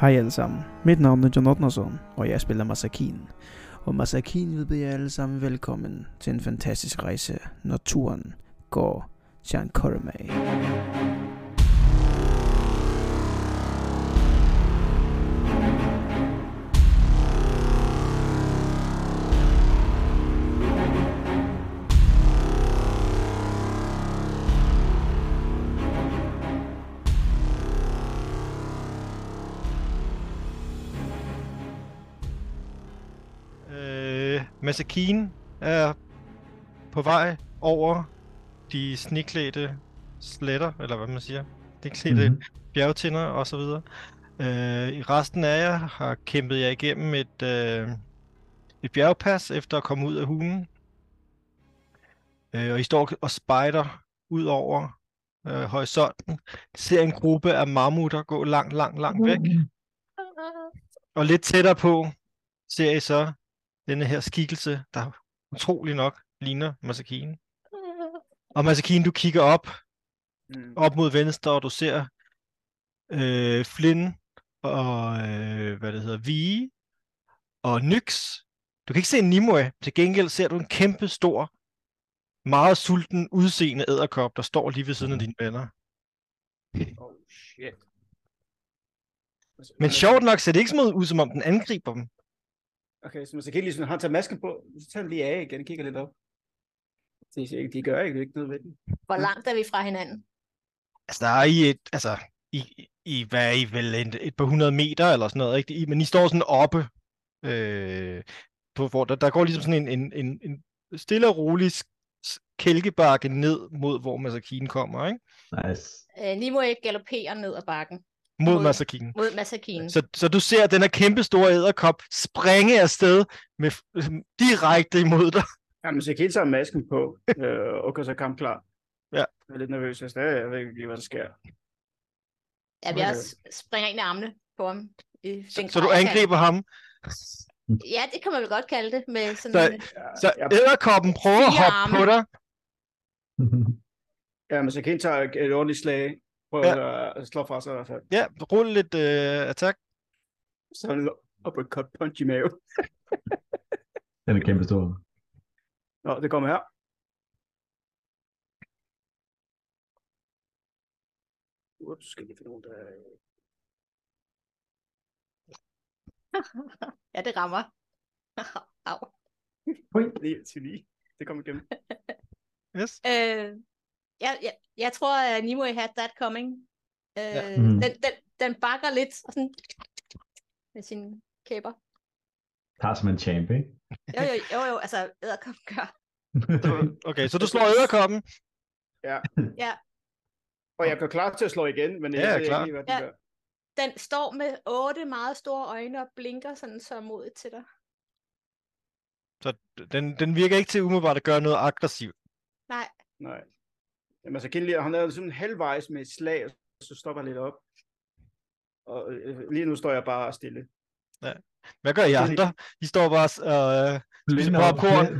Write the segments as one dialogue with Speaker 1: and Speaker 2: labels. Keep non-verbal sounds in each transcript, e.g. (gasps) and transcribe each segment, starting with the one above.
Speaker 1: Hej alle sammen. Mit navn er John Otterson, og jeg spiller Masakin. Og Masakin vil byde jer alle sammen velkommen til en fantastisk rejse, når turen går til Ankorme.
Speaker 2: Øh, Masakine er på vej over de sneklædte sletter, eller hvad man siger, de klædte mm-hmm. bjergtinder og så videre. Øh, i resten af jer har kæmpet jer igennem et, øh, et bjergpas efter at komme ud af hulen. Øh, og I står og spejder ud over øh, horisonten. Ser en gruppe af mammutter gå langt, langt, langt væk. Og lidt tættere på ser I så denne her skikkelse, der utrolig nok ligner Masakine. Og Masakine, du kigger op,
Speaker 3: Mm.
Speaker 2: op mod venstre, og du ser øh, Flynn og, øh, hvad det hedder, Vige og Nyx. Du kan ikke se Nimue. Til gengæld ser du en kæmpe stor, meget sulten, udseende æderkop, der står lige ved siden af dine venner.
Speaker 3: Oh shit.
Speaker 2: Men sjovt nok ser det ikke sådan ud, som om den angriber dem.
Speaker 3: Okay, så man skal lige sådan, han tager masken på, så tager han lige af igen, kigger lidt op. Det er ikke, de gør ikke, det er ikke nødvendigt.
Speaker 4: Hvor langt er vi fra hinanden?
Speaker 2: Altså, der er I et, altså, I, I hvad er I vel, et, et par hundrede meter eller sådan noget, ikke? I, men I står sådan oppe, øh, på, hvor der, der går ligesom sådan en, en, en, en stille og rolig sk- sk- kælkebakke ned mod, hvor Masakine kommer, ikke?
Speaker 5: Nice.
Speaker 4: (laughs) Øh, Nimue galopperer ned ad bakken
Speaker 2: Mod, mod
Speaker 4: Mod-
Speaker 2: Masakine.
Speaker 4: mod Masakine.
Speaker 2: Så, så du ser den her kæmpe store æderkop springe afsted med, øh, direkte imod dig.
Speaker 3: Jamen, så kan tager masken
Speaker 2: (laughs)
Speaker 3: på, øh, og går så kamp klar.
Speaker 2: Ja.
Speaker 3: Jeg er lidt nervøs, jeg, er stadig, jeg ved ikke lige, hvad der sker.
Speaker 4: Ja, jeg
Speaker 3: Okay.
Speaker 4: s- springer ind i armene på ham. I
Speaker 2: Så,
Speaker 4: den
Speaker 2: så du
Speaker 4: grad, jeg kan.
Speaker 2: angriber ham.
Speaker 4: Ja, det kan man vel godt kalde det. Med sådan
Speaker 2: Så-
Speaker 4: en,
Speaker 3: Ja,
Speaker 2: Så
Speaker 3: jeg,
Speaker 2: æderkoppen prøver at
Speaker 4: Fire
Speaker 2: hoppe
Speaker 4: arme.
Speaker 2: på dig.
Speaker 3: jamen, så kan tager et- et ordentligt slag, prøver ja. at øh, slå fra sig i hvert fald.
Speaker 2: Ja, rulle lidt øh, attack.
Speaker 3: Så er det op og cut punch i maven.
Speaker 5: Den er kæmpe stor.
Speaker 3: Nå, det kommer her. Ups, skal jeg lige finde nogen, der...
Speaker 4: ja, det rammer. Au.
Speaker 3: Lige til lige. Det kommer igennem.
Speaker 2: Yes.
Speaker 4: Øh, jeg, jeg, jeg tror, at Nimue had that coming. Øh, ja.
Speaker 5: Mm.
Speaker 4: den, den, den bakker lidt og sådan, med sine kæber.
Speaker 5: Tager som en champ, ikke?
Speaker 4: Jo, jo, jo, jo altså æderkop gør.
Speaker 2: Så- Okay, så du slår æderkoppen.
Speaker 3: Og jeg går klar til at slå igen, men jeg
Speaker 2: Ja,
Speaker 3: ved ikke
Speaker 2: klar.
Speaker 3: lige, hvad den
Speaker 4: Ja.
Speaker 3: gør.
Speaker 4: Den står med otte meget store øjne og blinker sådan så modigt til dig.
Speaker 2: Så den, den virker ikke til umiddelbart at gøre noget aggressivt.
Speaker 4: Nej,
Speaker 3: Nej. Jamen, så Kinley, han er sådan halvvejs med et slag, og så stopper han lidt op. Og øh, lige nu står jeg bare stille.
Speaker 2: Hvad gør I andre? I står bare... s- Øh, Spise popcorn.
Speaker 5: (laughs)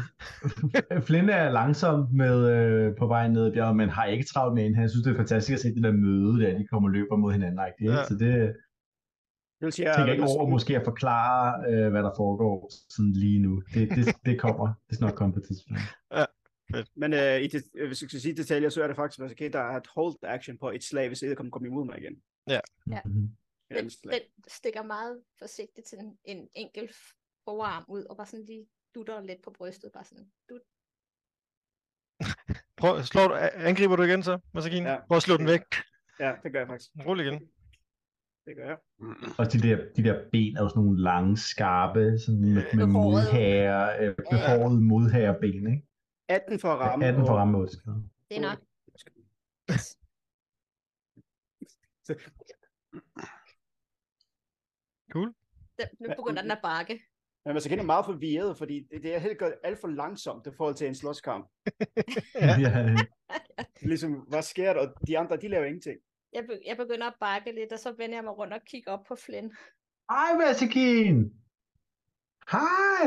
Speaker 5: Flynn- Flynn er langsom med, øh, på vej ned ad bjerget, men har ikke travlt med en. Han synes, det er fantastisk at se det der møde, der de kommer og løber mod hinanden. Ikke?
Speaker 2: Ja.
Speaker 5: Ja. Så det
Speaker 3: Det vil sige, jeg
Speaker 5: tænker jeg ikke
Speaker 3: vil-
Speaker 5: over måske at forklare, øh, hvad der foregår sådan lige nu. Det, det, det kommer. Det skal nok komme på et tidspunkt.
Speaker 3: Men øh, i det, øh, hvis jeg skal sige detaljer, så er det faktisk, at der er et hold action på et slag, hvis Edderkommen kommer imod mig igen.
Speaker 4: Ja.
Speaker 5: Mhm.
Speaker 3: Ja,
Speaker 4: den,
Speaker 3: et slag.
Speaker 4: den stikker meget forsigtigt til en, en enkelt forarm ud, og bare sådan lige dutter lidt på brystet. Bare sådan, dut.
Speaker 2: prøv, slår du, a- angriber du igen så, Masakine?
Speaker 3: Ja.
Speaker 2: Prøv at slå den væk.
Speaker 3: ja, det gør jeg faktisk.
Speaker 2: Rul igen.
Speaker 3: Det gør jeg.
Speaker 5: Og de der, de der ben er jo sådan nogle lange, skarpe, sådan med,
Speaker 2: Øh,
Speaker 5: med
Speaker 4: Behårede.
Speaker 5: modhager, øh, behårede modhagerben, ikke?
Speaker 3: 18 for at ramme.
Speaker 5: 18 for
Speaker 3: og-
Speaker 5: ramme 8 skader.
Speaker 4: Det er
Speaker 3: (laughs)
Speaker 4: nok. Den, nu
Speaker 3: Hva-
Speaker 4: begynder den at bakke.
Speaker 3: Men man skal altså, er meget forvirret, fordi det, det er helt godt alt for langsomt i forhold til en slåskamp.
Speaker 2: Ja.
Speaker 5: (laughs) Ja.
Speaker 3: Det er Ligesom, hvad sker der? Og de andre, de laver ingenting.
Speaker 4: Jeg, be, jeg begynder at bakke lidt, og så vender jeg mig rundt og kigger op på Flynn.
Speaker 5: Hej, Vasekin! Hej!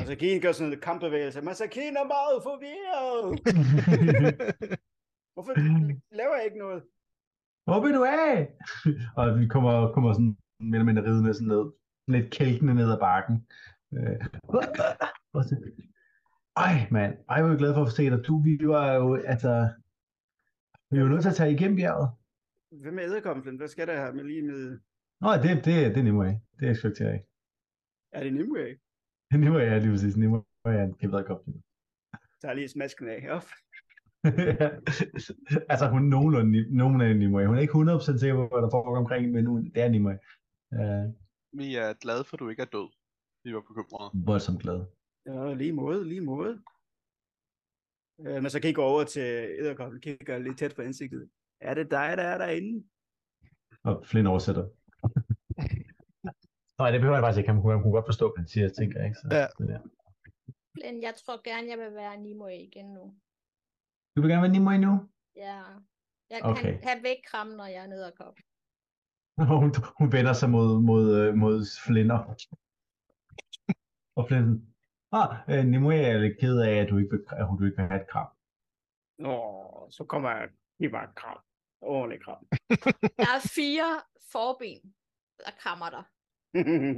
Speaker 3: Og så Kien Altså, gør sådan en kampbevægelse. Men så Kien er meget forvirret. Hvorfor laver jeg ikke noget?
Speaker 5: Hvor vil du af? og vi kommer, kommer sådan mere eller mindre ridende sådan ned, sådan lidt kælkende ned ad bakken. Øh, og så, Ej, mand. Ej, hvor er jeg glad for at få set dig. Du, vi var jo, altså... Vi var nødt til at tage igennem bjerget.
Speaker 3: Hvad med æderkomplen? Hvad skal der her med lige med...
Speaker 5: Nå, det, det, det er Nimue. Det respekterer jeg ikke.
Speaker 3: Er det Nimue?
Speaker 5: Nimue er lige præcis. Nimue er en kæmpe edderkop.
Speaker 3: Så er lige smasken af. Op.
Speaker 5: (laughs) altså hun er nogenlunde, ni- nogenlunde Nimue. Hun er ikke 100% sikker på, hvad der foregår omkring, men hun, det er Nimue. Uh,
Speaker 6: Vi er glade for, at du ikke er død. Vi var bekymrede.
Speaker 5: voldsomt glad.
Speaker 3: Ja, lige måde, lige måde. Øh, men så kigger over til æderkomplen, kigger lidt tæt på ansigtet. Er det dig, der er derinde?
Speaker 5: Og Flynn oversætter. (laughs) Nej, det behøver jeg faktisk ikke. Han kunne, han kunne godt forstå, hvad han siger, tænker jeg. Ikke? Så,
Speaker 2: Ja.
Speaker 5: det der.
Speaker 4: Men jeg tror gerne, jeg vil være Nimoy igen nu.
Speaker 5: Du vil gerne være Nimue nu? (laughs)
Speaker 4: Ja. Jeg
Speaker 5: Okay.
Speaker 4: kan have væk kramme, når jeg er nede og kop.
Speaker 5: Og hun, hun vender sig mod, mod, øh, mod Flynn og, og Flynn sådan, ah, øh, Nimue er lidt ked af, at du ikke vil, at du ikke vil have et kram.
Speaker 3: Åh, så kommer jeg lige bare kram. Ordentlig kram.
Speaker 4: Der er fire forben, der krammer dig.
Speaker 3: (laughs)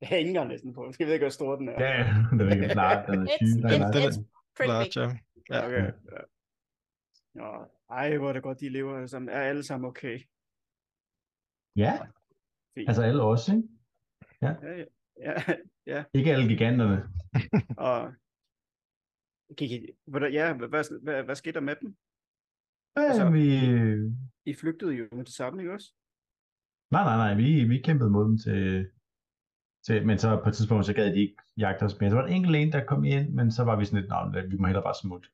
Speaker 3: jeg hænger næsten på. Jeg ved ikke, hvor stor den er.
Speaker 5: Ja, det er ikke klart, (laughs) den er
Speaker 4: It's,
Speaker 5: syg.
Speaker 4: it's,
Speaker 5: den er-
Speaker 4: it's pretty big.
Speaker 2: Large, ja. Ja.
Speaker 3: Okay. Ja. Nå, ej, hvor er det godt, de lever alle sammen. Er alle sammen okay?
Speaker 5: Ja,
Speaker 3: Fint.
Speaker 5: altså alle os, ikke?
Speaker 3: Ja, ja. ja. (laughs)
Speaker 5: Ikke alle giganterne.
Speaker 3: Og... Gik I... hvordan- Ja, hvad, hvad, hvad, hvad skete der med dem? Altså-
Speaker 5: Altså, vi...
Speaker 3: I flygtede jo med det samme, ikke også?
Speaker 5: Nej, nej, nej, vi, vi kæmpede mod dem til, til... Men så på et tidspunkt, så gad de ikke jagte os mere. Så var der en enkelt en, der kom ind, men så var vi sådan lidt, nej, vi må hellere bare smutte.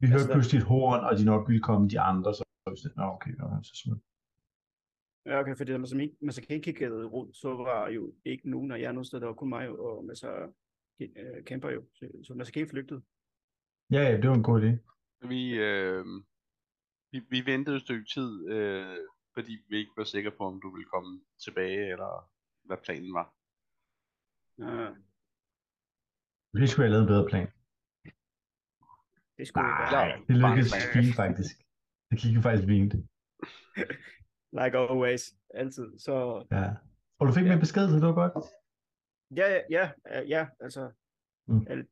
Speaker 5: Vi hørte
Speaker 3: der-
Speaker 5: pludselig et horn, og de nok ville komme de andre, så var vi sådan, nå, okay, nå, så smut.
Speaker 3: Ja, okay, fordi man som ikke, man så kan ikke kigge rundt, så var jo ikke nogen af jer nogen sted, der var kun mig og man så øh, kæmper jo, så, så man så ikke flygtede.
Speaker 5: Ja, ja, det var en god idé.
Speaker 6: Vi, øh, vi, vi ventede et stykke tid, øh, fordi vi ikke var sikre på, om du ville komme tilbage, eller hvad planen var.
Speaker 3: Ja,
Speaker 5: Vi skulle have lavet en bedre plan.
Speaker 3: det skulle jo være.
Speaker 6: Nej.
Speaker 5: det lykkedes
Speaker 6: bare en plan.
Speaker 5: fint faktisk. Det gik jo faktisk fint.
Speaker 3: Like always, altid. Så
Speaker 5: Ja. Og du fik ja.
Speaker 3: Ja.
Speaker 5: min besked, så det var godt.
Speaker 3: Ja, ja, ja, øh, ja, altså.
Speaker 5: Mm.
Speaker 3: Mm. Al,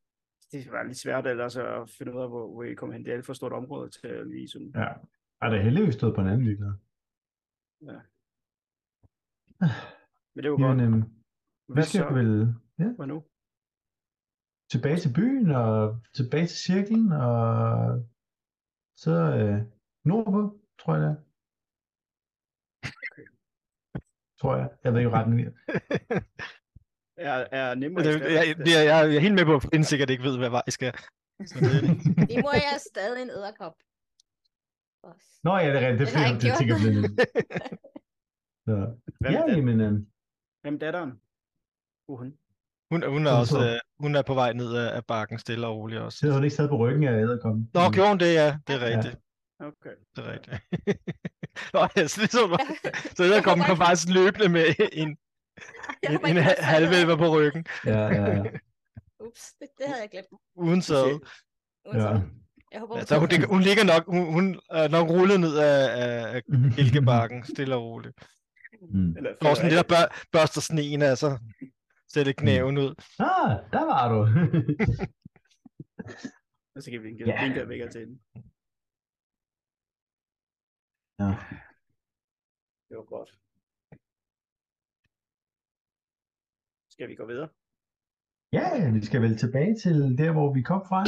Speaker 3: det var lidt svært ellers at finde ud af, hvor, hvor I kom hen. Det er et for stort område til at lige sådan.
Speaker 5: Ja. Ej, der er heldigvis stået på en anden virkelig.
Speaker 3: Men det var
Speaker 5: Jamen,
Speaker 3: godt.
Speaker 5: øhm, vi
Speaker 3: Hvad
Speaker 5: skal
Speaker 3: så?
Speaker 5: vel ja,
Speaker 3: Hvad nu?
Speaker 5: tilbage til byen, og tilbage til cirklen, og så øh, nordpå, tror jeg det er. Tror jeg. Jeg ved ikke retten.
Speaker 3: Er, er nemmere
Speaker 2: Det, jeg, jeg, jeg, jeg, er helt med på, at Flynn sikkert ikke ved, hvad vej jeg skal. Så det,
Speaker 4: Nimoy er stadig en æderkop. Også.
Speaker 5: Nå ja, det er rigtigt. Det
Speaker 4: Den har
Speaker 5: er
Speaker 4: ikke
Speaker 5: fordi, jeg
Speaker 4: gjort
Speaker 5: tænker på
Speaker 4: det.
Speaker 5: det. Så.
Speaker 3: Hvem,
Speaker 5: Ja,
Speaker 3: er dat-
Speaker 5: jamen, øhm,
Speaker 3: hvem er datteren? Uh, hun.
Speaker 2: hun, hun, er
Speaker 5: Sådan
Speaker 2: også,
Speaker 5: så.
Speaker 2: øh, hun er på vej ned ad ad bakken, stille og roligt også.
Speaker 5: så har hun ikke sad på ryggen af Mm. æderkommen.
Speaker 2: Nå, gjorde hun det, ja. Det er
Speaker 4: Ja.
Speaker 2: rigtigt.
Speaker 3: Okay.
Speaker 2: Det er rigtigt. (laughs) Nå, jeg synes, det
Speaker 4: (laughs)
Speaker 2: var... Så der kom, kom faktisk løbende med en,
Speaker 4: (laughs) Jeg
Speaker 2: en,
Speaker 4: håber
Speaker 2: en
Speaker 4: ikke, jeg har sagt noget.
Speaker 2: halvælver på ryggen,
Speaker 5: Ja, ja, ja.
Speaker 4: Ups, det, det havde jeg glemt.
Speaker 2: uden sæde.
Speaker 5: ja.
Speaker 4: Uanset. Jeg håber,
Speaker 2: Altså, hun, ligger- hun ligger nok, hun, hun er nok rullet ned af, af, af kælkebakken, stille og roligt.
Speaker 5: Mm.
Speaker 3: Eller,
Speaker 2: Der var sådan lidt, der bør, børster sneen af sig. Sætte knæven ud.
Speaker 5: Ah, der var du. (laughs)
Speaker 3: Og så kan vi vinke,
Speaker 5: Ja.
Speaker 3: yeah. vinke væk til hende.
Speaker 5: ja.
Speaker 3: Det var godt. Skal vi gå videre?
Speaker 5: ja, vi skal vel tilbage til der, hvor vi kom fra.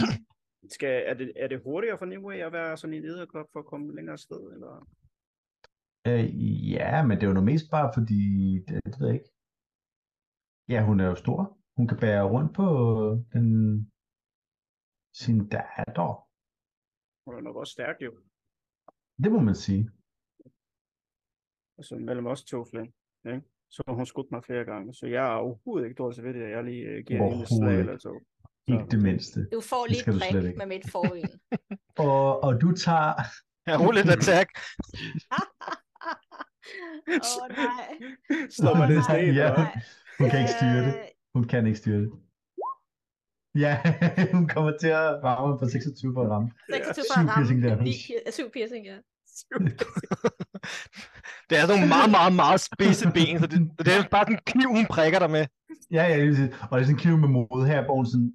Speaker 3: Skal, er, det, er det hurtigere for Nimue at være sådan en lederklub for at komme længere sted? Eller?
Speaker 5: øh, ja, men det var nu mest bare fordi, det, det ved jeg ikke. Ja, hun er jo stor. Hun kan bære rundt på øh, den, sin datter.
Speaker 3: Hun er nok også stærk jo.
Speaker 5: Det må man sige.
Speaker 3: altså mellem os to Flynn, ikke? Så har hun skudt mig flere gange, så jeg er overhovedet ikke dårlig til ved det, at jeg lige øh, giver hende et slag
Speaker 5: Overhovedet
Speaker 3: eller to.
Speaker 5: Ikke det mindste.
Speaker 4: Du får lige
Speaker 5: skal
Speaker 4: et
Speaker 5: du
Speaker 4: brik
Speaker 5: slet ikke.
Speaker 4: med mit forben.
Speaker 5: Og, og du tager...
Speaker 2: Ja, rulle et attack.
Speaker 4: Åh oh, nej.
Speaker 3: (laughs) Slår
Speaker 4: Åh,
Speaker 5: (laughs)
Speaker 3: mig lidt
Speaker 4: nej,
Speaker 3: ned,
Speaker 5: ja,
Speaker 3: eller
Speaker 5: hun, hun kan ikke styre det.
Speaker 4: Øh,
Speaker 5: Hun kan ikke styre det. Ja, (laughs) hun kommer til at ramme på 26 for at ramme.
Speaker 4: 26
Speaker 5: Syv
Speaker 4: for at ramme.
Speaker 5: piercing damage.
Speaker 4: Ni pier- øh, Syv piercing, ja.
Speaker 2: Det er sådan nogle meget, meget, meget spidse ben, så det, så det er bare den kniv, hun prikker dig med.
Speaker 5: Ja, ja, det vil sige. Og det er sådan en kniv med mod her, hvor hun sådan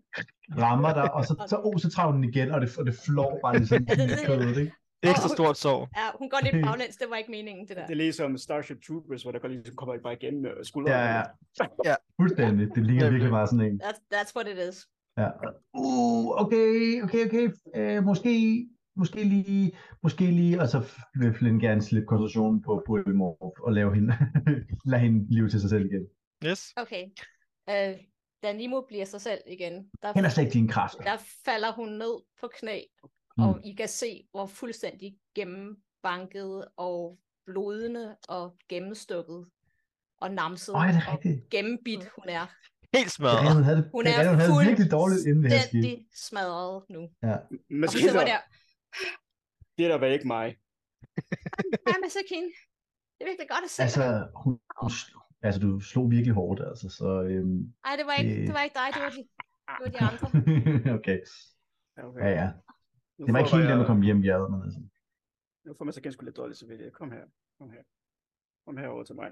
Speaker 5: rammer dig, og så, så, oh, så tager hun den igen, og det, og det flår bare lige sådan
Speaker 4: Ja,
Speaker 3: (laughs)
Speaker 4: det er
Speaker 5: i
Speaker 4: det.
Speaker 5: kødet, ikke?
Speaker 2: Ekstra stort sår.
Speaker 4: Ja, hun går
Speaker 5: (laughs)
Speaker 4: lidt baglæns, det var ikke meningen, det der.
Speaker 3: Det er ligesom Starship Troopers, hvor der går ligesom kommer I bare igennem øh, skuldrene.
Speaker 5: Ja, ja. Fuldstændig. Det ligner
Speaker 2: Nemlig.
Speaker 5: virkelig bare sådan en.
Speaker 4: That's, that's what it is.
Speaker 5: Ja. Uh, okay, okay, okay. Øh, måske, måske lige, måske lige, og så vil Flynn gerne slippe koncentrationen på Polymorph og lave hende, (laughs) lade hende leve til sig selv igen.
Speaker 2: Yes.
Speaker 4: Okay. Øh, da Nimo bliver sig selv igen, der,
Speaker 5: Heller slet ikke Mm. dine kræfter.
Speaker 4: der falder hun ned på knæ, og I kan se, hvor fuldstændig gennembanket og blodende og gennemstukket og namset
Speaker 5: Åh, er det
Speaker 4: og
Speaker 5: rigtigt?
Speaker 4: gennembidt hun er.
Speaker 2: helt
Speaker 5: Ja,
Speaker 2: smadret.
Speaker 5: hun havde det,
Speaker 4: Hun
Speaker 5: ja,
Speaker 4: er
Speaker 5: hun havde det virkelig dårligt inden det her skete.
Speaker 4: fuldstændig smadret nu. Og hun
Speaker 3: Maskiner,
Speaker 4: sidder der,
Speaker 3: det der var ikke mig.
Speaker 4: hej Masakin, det er virkelig godt at se
Speaker 5: Altså,
Speaker 4: dig.
Speaker 5: hun, hun sl- altså, du slog virkelig hårdt, altså, så... Øhm,
Speaker 4: Ej, det var ikke,
Speaker 5: det-
Speaker 4: det var ikke dig, det var de, det
Speaker 3: Ah,
Speaker 4: var de andre.
Speaker 5: (laughs) okay,
Speaker 3: Ja, okay.
Speaker 5: ja, ja.
Speaker 3: Nu
Speaker 5: Det var ikke
Speaker 3: får
Speaker 5: helt
Speaker 3: jeg-
Speaker 5: nemt at komme hjem, jeg men altså.
Speaker 3: Nu får man så ganske lidt dårligt samvittighed. Kom her. Kom her. Kom herover
Speaker 4: (laughs)
Speaker 3: til mig.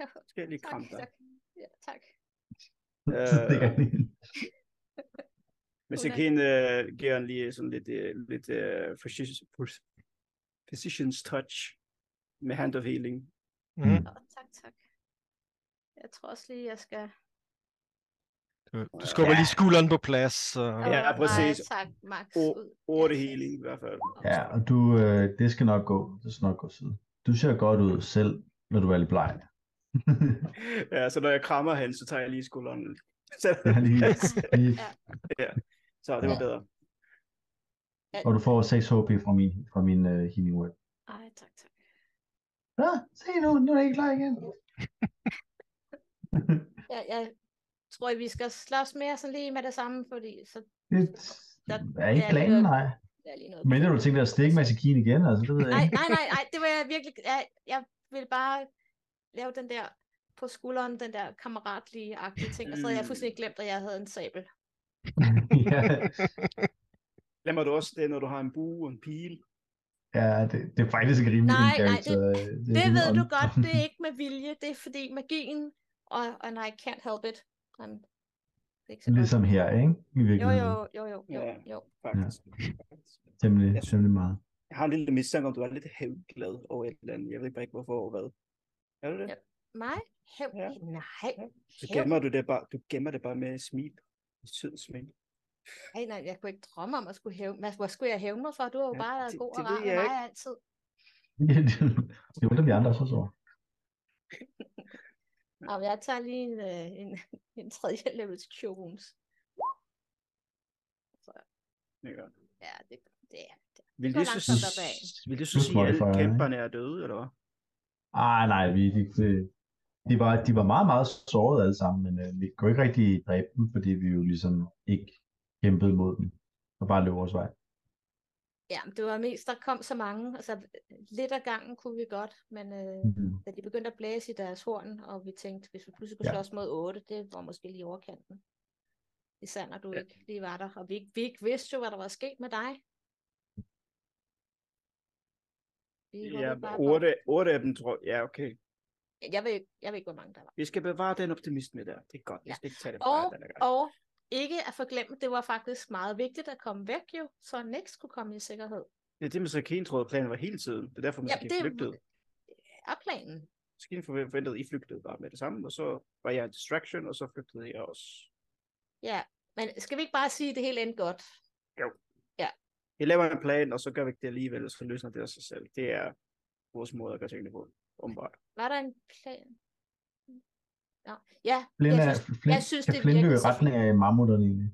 Speaker 4: Jo,
Speaker 3: Skal jeg lige
Speaker 4: Tak,
Speaker 3: kramme dig?
Speaker 4: tak. Ja, tak.
Speaker 5: (laughs) Så stikker
Speaker 3: Øh,
Speaker 5: han ind.
Speaker 3: Men
Speaker 4: Hun
Speaker 3: så
Speaker 4: er-
Speaker 3: kan uh, giver han lige sådan lidt, uh, lidt uh, physician, physician's touch med hand of healing.
Speaker 2: Mm.
Speaker 4: Nå, tak, tak. Jeg tror også lige, jeg skal...
Speaker 2: Du skubber lige skulderen på plads. Og...
Speaker 4: Åh, nej,
Speaker 3: præcis.
Speaker 4: tak, Max.
Speaker 3: Åh,
Speaker 4: ud.
Speaker 3: Orte healing i hvert fald.
Speaker 5: Ja, og du, øh, det skal nok gå. Det skal nok gå siden. Du ser godt ud selv, når du er lidt bleg. (laughs)
Speaker 3: ja, så når jeg krammer hende, så tager jeg lige skulderen. Så,
Speaker 5: Jeg har lige, lige,
Speaker 4: Ja.
Speaker 3: (laughs) så det var
Speaker 5: Ja.
Speaker 3: bedre.
Speaker 5: og du får 6 HP fra min, fra min uh, healing word.
Speaker 4: Ej, tak, tak.
Speaker 5: Nå, se nu, nu er det ikke klar igen.
Speaker 4: Jeg, jeg tror, vi skal slås mere sådan lige med det samme, fordi så
Speaker 5: Det er ikke planen, nej.
Speaker 4: er lige noget...
Speaker 5: Men du tænker dig at stikke Masakin igen, altså det ved jeg
Speaker 4: Nej,
Speaker 5: ikke. (laughs)
Speaker 4: nej, nej, nej, det var jeg virkelig... Jeg, jeg vil bare lave den der på skulderen, den der kammeratlige agtige ting, og så havde jeg
Speaker 3: Mm.
Speaker 4: fuldstændig glemt, at jeg havde en sabel.
Speaker 5: ja,
Speaker 3: Glemmer du også det, når du har en bue og en pil?
Speaker 5: ja det, det, er faktisk ikke rimelig
Speaker 4: Nej, nej,
Speaker 5: indgave,
Speaker 4: det-
Speaker 5: så, øh, det,
Speaker 4: Det
Speaker 5: er
Speaker 4: ved du
Speaker 5: on-
Speaker 4: godt,
Speaker 5: on-
Speaker 4: det
Speaker 5: (laughs)
Speaker 4: er ikke med vilje, det er fordi magien, og, og nej, I can't help it. Um, det er ikke så godt.
Speaker 5: Ligesom her, ikke? I
Speaker 4: Jo,
Speaker 5: virkeligheden.
Speaker 4: jo, jo, jo, jo,
Speaker 3: Ja.
Speaker 4: jo.
Speaker 3: Faktisk.
Speaker 5: Temmelig,
Speaker 3: Jeg-
Speaker 5: temmelig meget. (laughs)
Speaker 3: Jeg har en lille mistanke om, du er lidt hævglad over et eller andet. Jeg ved bare ikke, hvorfor og hvad. Er du det?
Speaker 4: Ja. Mig? Hævn?
Speaker 3: Ja.
Speaker 4: Nej.
Speaker 3: Ja. Så
Speaker 4: Hævn?
Speaker 3: gemmer du det bare, du gemmer det bare med et smil. Et sødt smil.
Speaker 4: Nej, nej, jeg kunne ikke drømme om at skulle hævne. Hvad, hvor skulle jeg hævne mig for? Du har jo
Speaker 3: Ja,
Speaker 4: bare været
Speaker 3: det-
Speaker 4: god
Speaker 3: det
Speaker 4: og
Speaker 3: ved
Speaker 4: rar med
Speaker 3: jeg
Speaker 4: mig
Speaker 3: ikke.
Speaker 4: altid.
Speaker 5: Ja, det, det undrer vi andre også over.
Speaker 4: Nå, men jeg tager lige en, øh, en, (laughs) en tredje level til cure wounds.
Speaker 3: Ja.
Speaker 4: Ja, det, det er.
Speaker 3: Vil
Speaker 4: Gå
Speaker 3: det, så,
Speaker 4: langsomt opad.
Speaker 3: s- vil det så
Speaker 5: Plus
Speaker 3: sige, at alle
Speaker 5: modifier, ikke?
Speaker 3: kæmperne er døde, eller hvad?
Speaker 5: Ah, nej, vi, de, de, de, var, de var meget, meget sårede alle sammen, men øh, vi kunne ikke rigtig dræbe dem, fordi vi jo ligesom ikke kæmpede mod dem, og bare løb vores vej.
Speaker 4: Ja, men det var mest, der kom så mange. Altså, lidt af gangen kunne vi godt, men øh,
Speaker 5: Mm.
Speaker 4: da de begyndte at blæse i deres horn, og vi tænkte, hvis vi pludselig skulle
Speaker 5: Ja.
Speaker 4: ja. slås mod 8, det var måske lige i overkanten. Især når du ja. ikke lige var der, og vi, ikke- vi ikke vidste jo, hvad der var sket med dig. Vi
Speaker 3: Ja,
Speaker 4: håbede bare på-
Speaker 3: otte, otte af dem tror Ja, okay.
Speaker 4: Jeg ved, ikke- jeg ved ikke, hvor mange der var.
Speaker 3: Vi skal bevare den optimisme der. Det er godt. Jeg
Speaker 4: Ja.
Speaker 3: skal ikke tage det fra
Speaker 4: Og,
Speaker 3: dig, den er godt.
Speaker 4: og ikke at forglemme, det var faktisk meget vigtigt at komme væk jo, så Nix kunne komme i sikkerhed.
Speaker 3: Det er det, Masakin troede, planen var hele tiden. Det er derfor, Masakin
Speaker 4: det-
Speaker 3: flygtede.
Speaker 4: Er planen?
Speaker 3: Masakin forventede, at I flygtede bare med det samme, og så var jeg en distraction, og så flygtede jeg også.
Speaker 4: Ja, men skal vi ikke bare sige, at det hele endte godt?
Speaker 3: Vi laver en plan, og så gør vi ikke det alligevel, og så løsner det af sig selv. Det er vores måde at gøre tingene på, åbenbart.
Speaker 4: Var der en plan? Nå, ja,
Speaker 5: Flynn,
Speaker 4: jeg
Speaker 5: er,
Speaker 4: synes,
Speaker 5: Flynn,
Speaker 4: jeg synes,
Speaker 5: kan
Speaker 4: det
Speaker 5: Flynn løbe
Speaker 4: virkelig
Speaker 5: i
Speaker 4: så
Speaker 5: retning af mammutterne egentlig?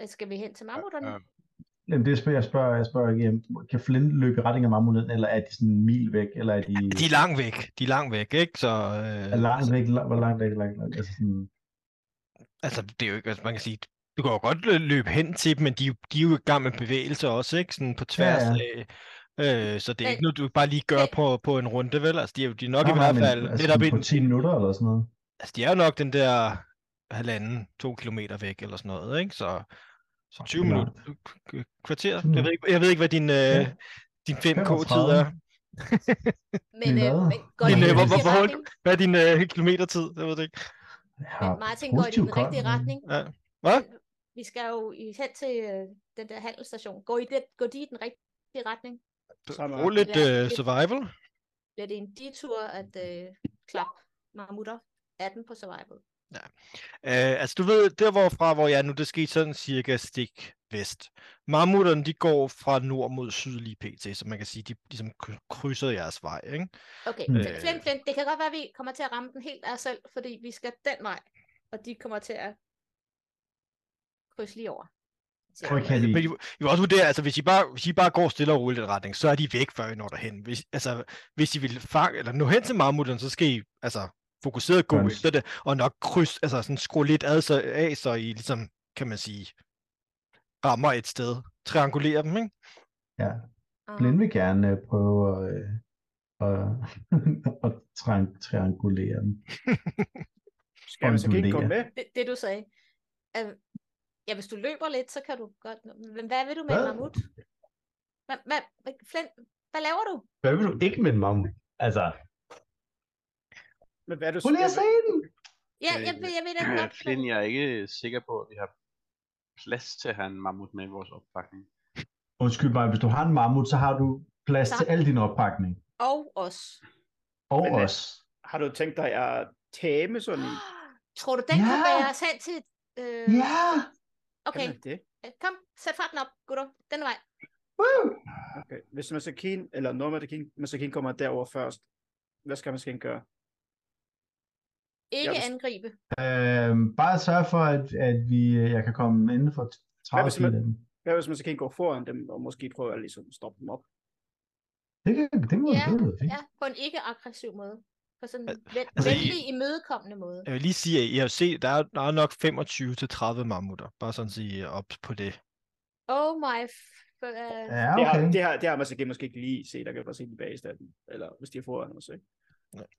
Speaker 4: øh, skal vi hen til mammutterne?
Speaker 6: Ja,
Speaker 5: Jamen, det spørger jeg, spørger, jeg spørger ikke, jamen, kan Flynn løbe i retning af mammutterne, eller er de sådan en mil væk, eller er de,
Speaker 2: De er langt væk. De er langt væk, ikke? Så, øh,
Speaker 5: er langt væk, la- hvor langt væk, langt, langt, altså sådan,
Speaker 2: altså, det er jo ikke, altså, man kan sige, du kan jo godt lø- løbe hen til dem, men de, er jo- de er jo i gang med bevægelser også, ikke? Sådan på tværs
Speaker 5: ja.
Speaker 2: af... Øh, så det er ikke
Speaker 4: Men-
Speaker 2: noget, du bare lige gør
Speaker 4: men-
Speaker 2: på, på en runde, vel? Altså, de er jo de er nok
Speaker 5: Nå,
Speaker 2: i
Speaker 5: nej,
Speaker 2: hvert
Speaker 5: men,
Speaker 2: fald
Speaker 5: altså,
Speaker 2: netop
Speaker 5: sådan på
Speaker 2: en,
Speaker 5: 10 minutter eller sådan noget.
Speaker 2: altså, de er jo nok den der halvanden, to kilometer væk eller sådan noget, ikke? Så, så 20
Speaker 5: det er
Speaker 2: minutter, k- k- kvarter.
Speaker 5: Sådan
Speaker 2: Jeg ved ikke, jeg ved ikke hvad din, øh,
Speaker 5: Ja.
Speaker 2: din 5K-tid
Speaker 5: 35.
Speaker 2: er.
Speaker 4: Men,
Speaker 5: Nå.
Speaker 4: øh, men går
Speaker 5: Men,
Speaker 4: det i den
Speaker 5: øh, hvor-
Speaker 4: rigtige
Speaker 2: hvor- hvor-
Speaker 4: retning?
Speaker 2: Hvad er din øh, kilometertid? Jeg ved det ikke.
Speaker 5: Jeg
Speaker 4: Men
Speaker 5: har
Speaker 4: Martin går i
Speaker 5: positiv
Speaker 4: den rigtige
Speaker 5: kold, men-
Speaker 4: retning.
Speaker 2: Ja. Hvad?
Speaker 4: Vi skal jo i- hen til øh, den der handelsstation. Går, I den, går de i den rigtige retning?
Speaker 3: Samme
Speaker 2: Brug lidt
Speaker 4: Ja,
Speaker 2: øh,
Speaker 4: lidt.
Speaker 2: survival.
Speaker 4: Bliver det en detur at øh, klappe marmutter? 18 på survival.
Speaker 2: Øh, altså du ved, der hvorfra, hvor jeg er nu, det skete sådan cirka stik vest. Mammutterne, de går fra nord mod syd lige pt, så man kan sige, de ligesom kry- krydser jeres vej, ikke?
Speaker 4: Okay,
Speaker 5: Mm.
Speaker 4: så
Speaker 2: Øh.
Speaker 4: flint, flint. Det kan godt være, at vi kommer til at ramme den helt af os selv, fordi vi skal den vej, og de kommer til at krydse lige over. Så,
Speaker 5: Hvor kan
Speaker 2: Øh, Men I,
Speaker 5: vi?
Speaker 2: I må også vurdere, altså hvis I, bare, hvis I bare går stille og roligt i den retning, så er de væk, før I når derhen. Hvis, altså, hvis I vil fange, eller nå hen til mammutterne, så skal I altså, fokuseret gå
Speaker 5: Nice.
Speaker 2: efter det, og nok kryds, altså sådan skrue lidt ad, så, af, så I ligesom, kan man sige, rammer et sted, triangulerer dem, ikke?
Speaker 5: Ja,
Speaker 4: ah,
Speaker 5: Blind vil gerne øh, prøve at, øh, at, at (laughs) triang- triangulere den.
Speaker 3: Skal man så ikke
Speaker 5: Undulere.
Speaker 3: komme med?
Speaker 4: det, det du sagde. Øh, ja, hvis du løber lidt, så kan du godt... Men hvad vil du med en
Speaker 5: Hvad?
Speaker 4: mammut? Hvad, hvad, hvad, flint, hvad laver du?
Speaker 5: Hvad vil du ikke med en mammut? Altså,
Speaker 3: Men hvad er det,
Speaker 5: prøv lige at se den!
Speaker 4: Ja,
Speaker 6: Øh,
Speaker 4: jeg, ved- jeg ved det godt.
Speaker 6: Flynn, jeg er ikke sikker på, at vi har plads til at have en mammut med i vores oppakning.
Speaker 5: Undskyld mig, hvis du har en mammut, så har du plads
Speaker 4: Så-
Speaker 5: til al din oppakning.
Speaker 4: Og os.
Speaker 5: Og
Speaker 3: Men, øh,
Speaker 5: os.
Speaker 3: Har du tænkt dig at tame sådan en?
Speaker 4: Tror du, den kan
Speaker 5: Ja!
Speaker 4: bære os hen til... Øh,
Speaker 5: Ja!
Speaker 4: (gasps) Okay,
Speaker 3: Kan man det?
Speaker 4: øh, kom, sæt farten op, gutter. Den vej.
Speaker 5: Woo!
Speaker 3: Okay. Hvis Masakin, eller når Masakin, Masakin kommer derover først, hvad skal Masakin gøre?
Speaker 4: Ikke
Speaker 3: hvis-
Speaker 4: angribe.
Speaker 5: Øhm, bare sørg for, at, at vi, øh, jeg kan komme inden for 30
Speaker 3: hvis
Speaker 5: feet
Speaker 3: man-
Speaker 5: af den.
Speaker 3: Hvad hvis Masakin går foran dem, og måske prøver at ligesom stoppe dem op?
Speaker 5: Det, kan, det må
Speaker 4: Ja,
Speaker 5: det lyder fint.
Speaker 4: Ja, på en ikke-aggressiv måde. På sådan en ven,
Speaker 2: altså, I-
Speaker 4: venlig, imødekommende måde.
Speaker 2: Jeg vil lige sige, at I har set, der er, der er nok 25-30 mammutter. Bare sådan sige op på det.
Speaker 4: Oh my... F- uh,
Speaker 5: Ja,
Speaker 3: Det har,
Speaker 5: okay.
Speaker 3: det har, det har Masakin måske ikke lige set, der kan jeg bare se den bageste af den. Eller hvis de er foran os, ikke?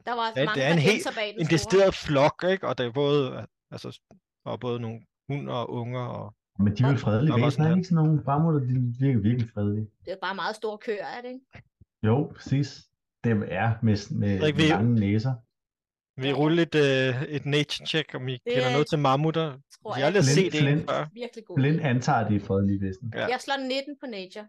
Speaker 4: der var
Speaker 2: det er
Speaker 4: mange,
Speaker 2: en
Speaker 4: der
Speaker 2: helt-
Speaker 4: gemte sig bag den
Speaker 2: En
Speaker 4: store.
Speaker 2: decideret flok, ikke? Og der er både, altså, og både nogle hund og unger. Og...
Speaker 5: Men de er jo fredelige
Speaker 2: Der var
Speaker 5: væsener,
Speaker 2: sådan
Speaker 5: ikke? Sådan nogle mammutter, de virker virkelig fredelige.
Speaker 4: Det er bare meget store køer, er det ikke?
Speaker 5: Jo, præcis. Dem er med, med,
Speaker 2: Frederik,
Speaker 5: med
Speaker 2: vil-
Speaker 5: lange næser.
Speaker 2: Vi ruller lidt øh, et nature check, om I det kender
Speaker 4: er-
Speaker 2: noget til mammutter.
Speaker 4: Tror
Speaker 2: Jeg har aldrig
Speaker 5: Flint-
Speaker 2: set en
Speaker 5: flint.
Speaker 2: før.
Speaker 4: Virkelig god.
Speaker 5: Blind antager, de er fredelige væsener.
Speaker 2: Ja.
Speaker 4: Jeg slår 19 på nature,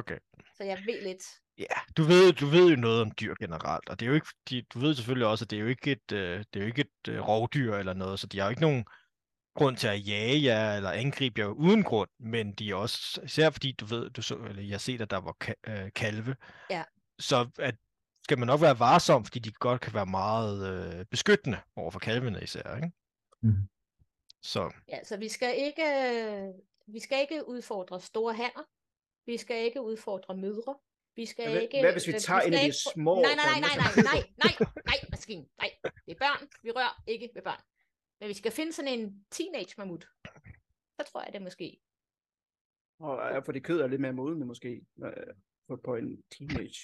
Speaker 2: Okay.
Speaker 4: så jeg ved lidt.
Speaker 2: Ja, du ved, du ved jo noget om dyr generelt, og det er jo ikke, de, du ved selvfølgelig også, at det er jo ikke et, øh, det er jo ikke et øh, rovdyr eller noget, så de har jo ikke nogen grund til at jage jer eller angribe jer uden grund, men de er også, især fordi du ved, du så, eller jeg har set, at der var ka- øh, kalve,
Speaker 4: Ja.
Speaker 2: så at, skal man nok være varsom, fordi de godt kan være meget øh, beskyttende over for kalvene især, ikke?
Speaker 5: Mhm.
Speaker 2: Så
Speaker 4: Ja, så vi skal ikke, øh, vi skal ikke udfordre store hanner. Vi skal ikke udfordre mødre. Vi skal
Speaker 3: Hvad-
Speaker 4: ikke...
Speaker 3: hvad hvis vi
Speaker 4: øh,
Speaker 3: tager
Speaker 4: skal
Speaker 3: en af de
Speaker 4: ikke-
Speaker 3: små,
Speaker 4: Nej, nej, nej,
Speaker 3: der-
Speaker 4: nej, nej, nej, nej, nej, maskin, nej. Det er børn. Vi rører ikke ved børn. Men vi skal finde sådan en teenage mammut. Så tror jeg det måske.
Speaker 3: Og jeg får det kød er lidt mere modne måske, øh, på, på en teenage.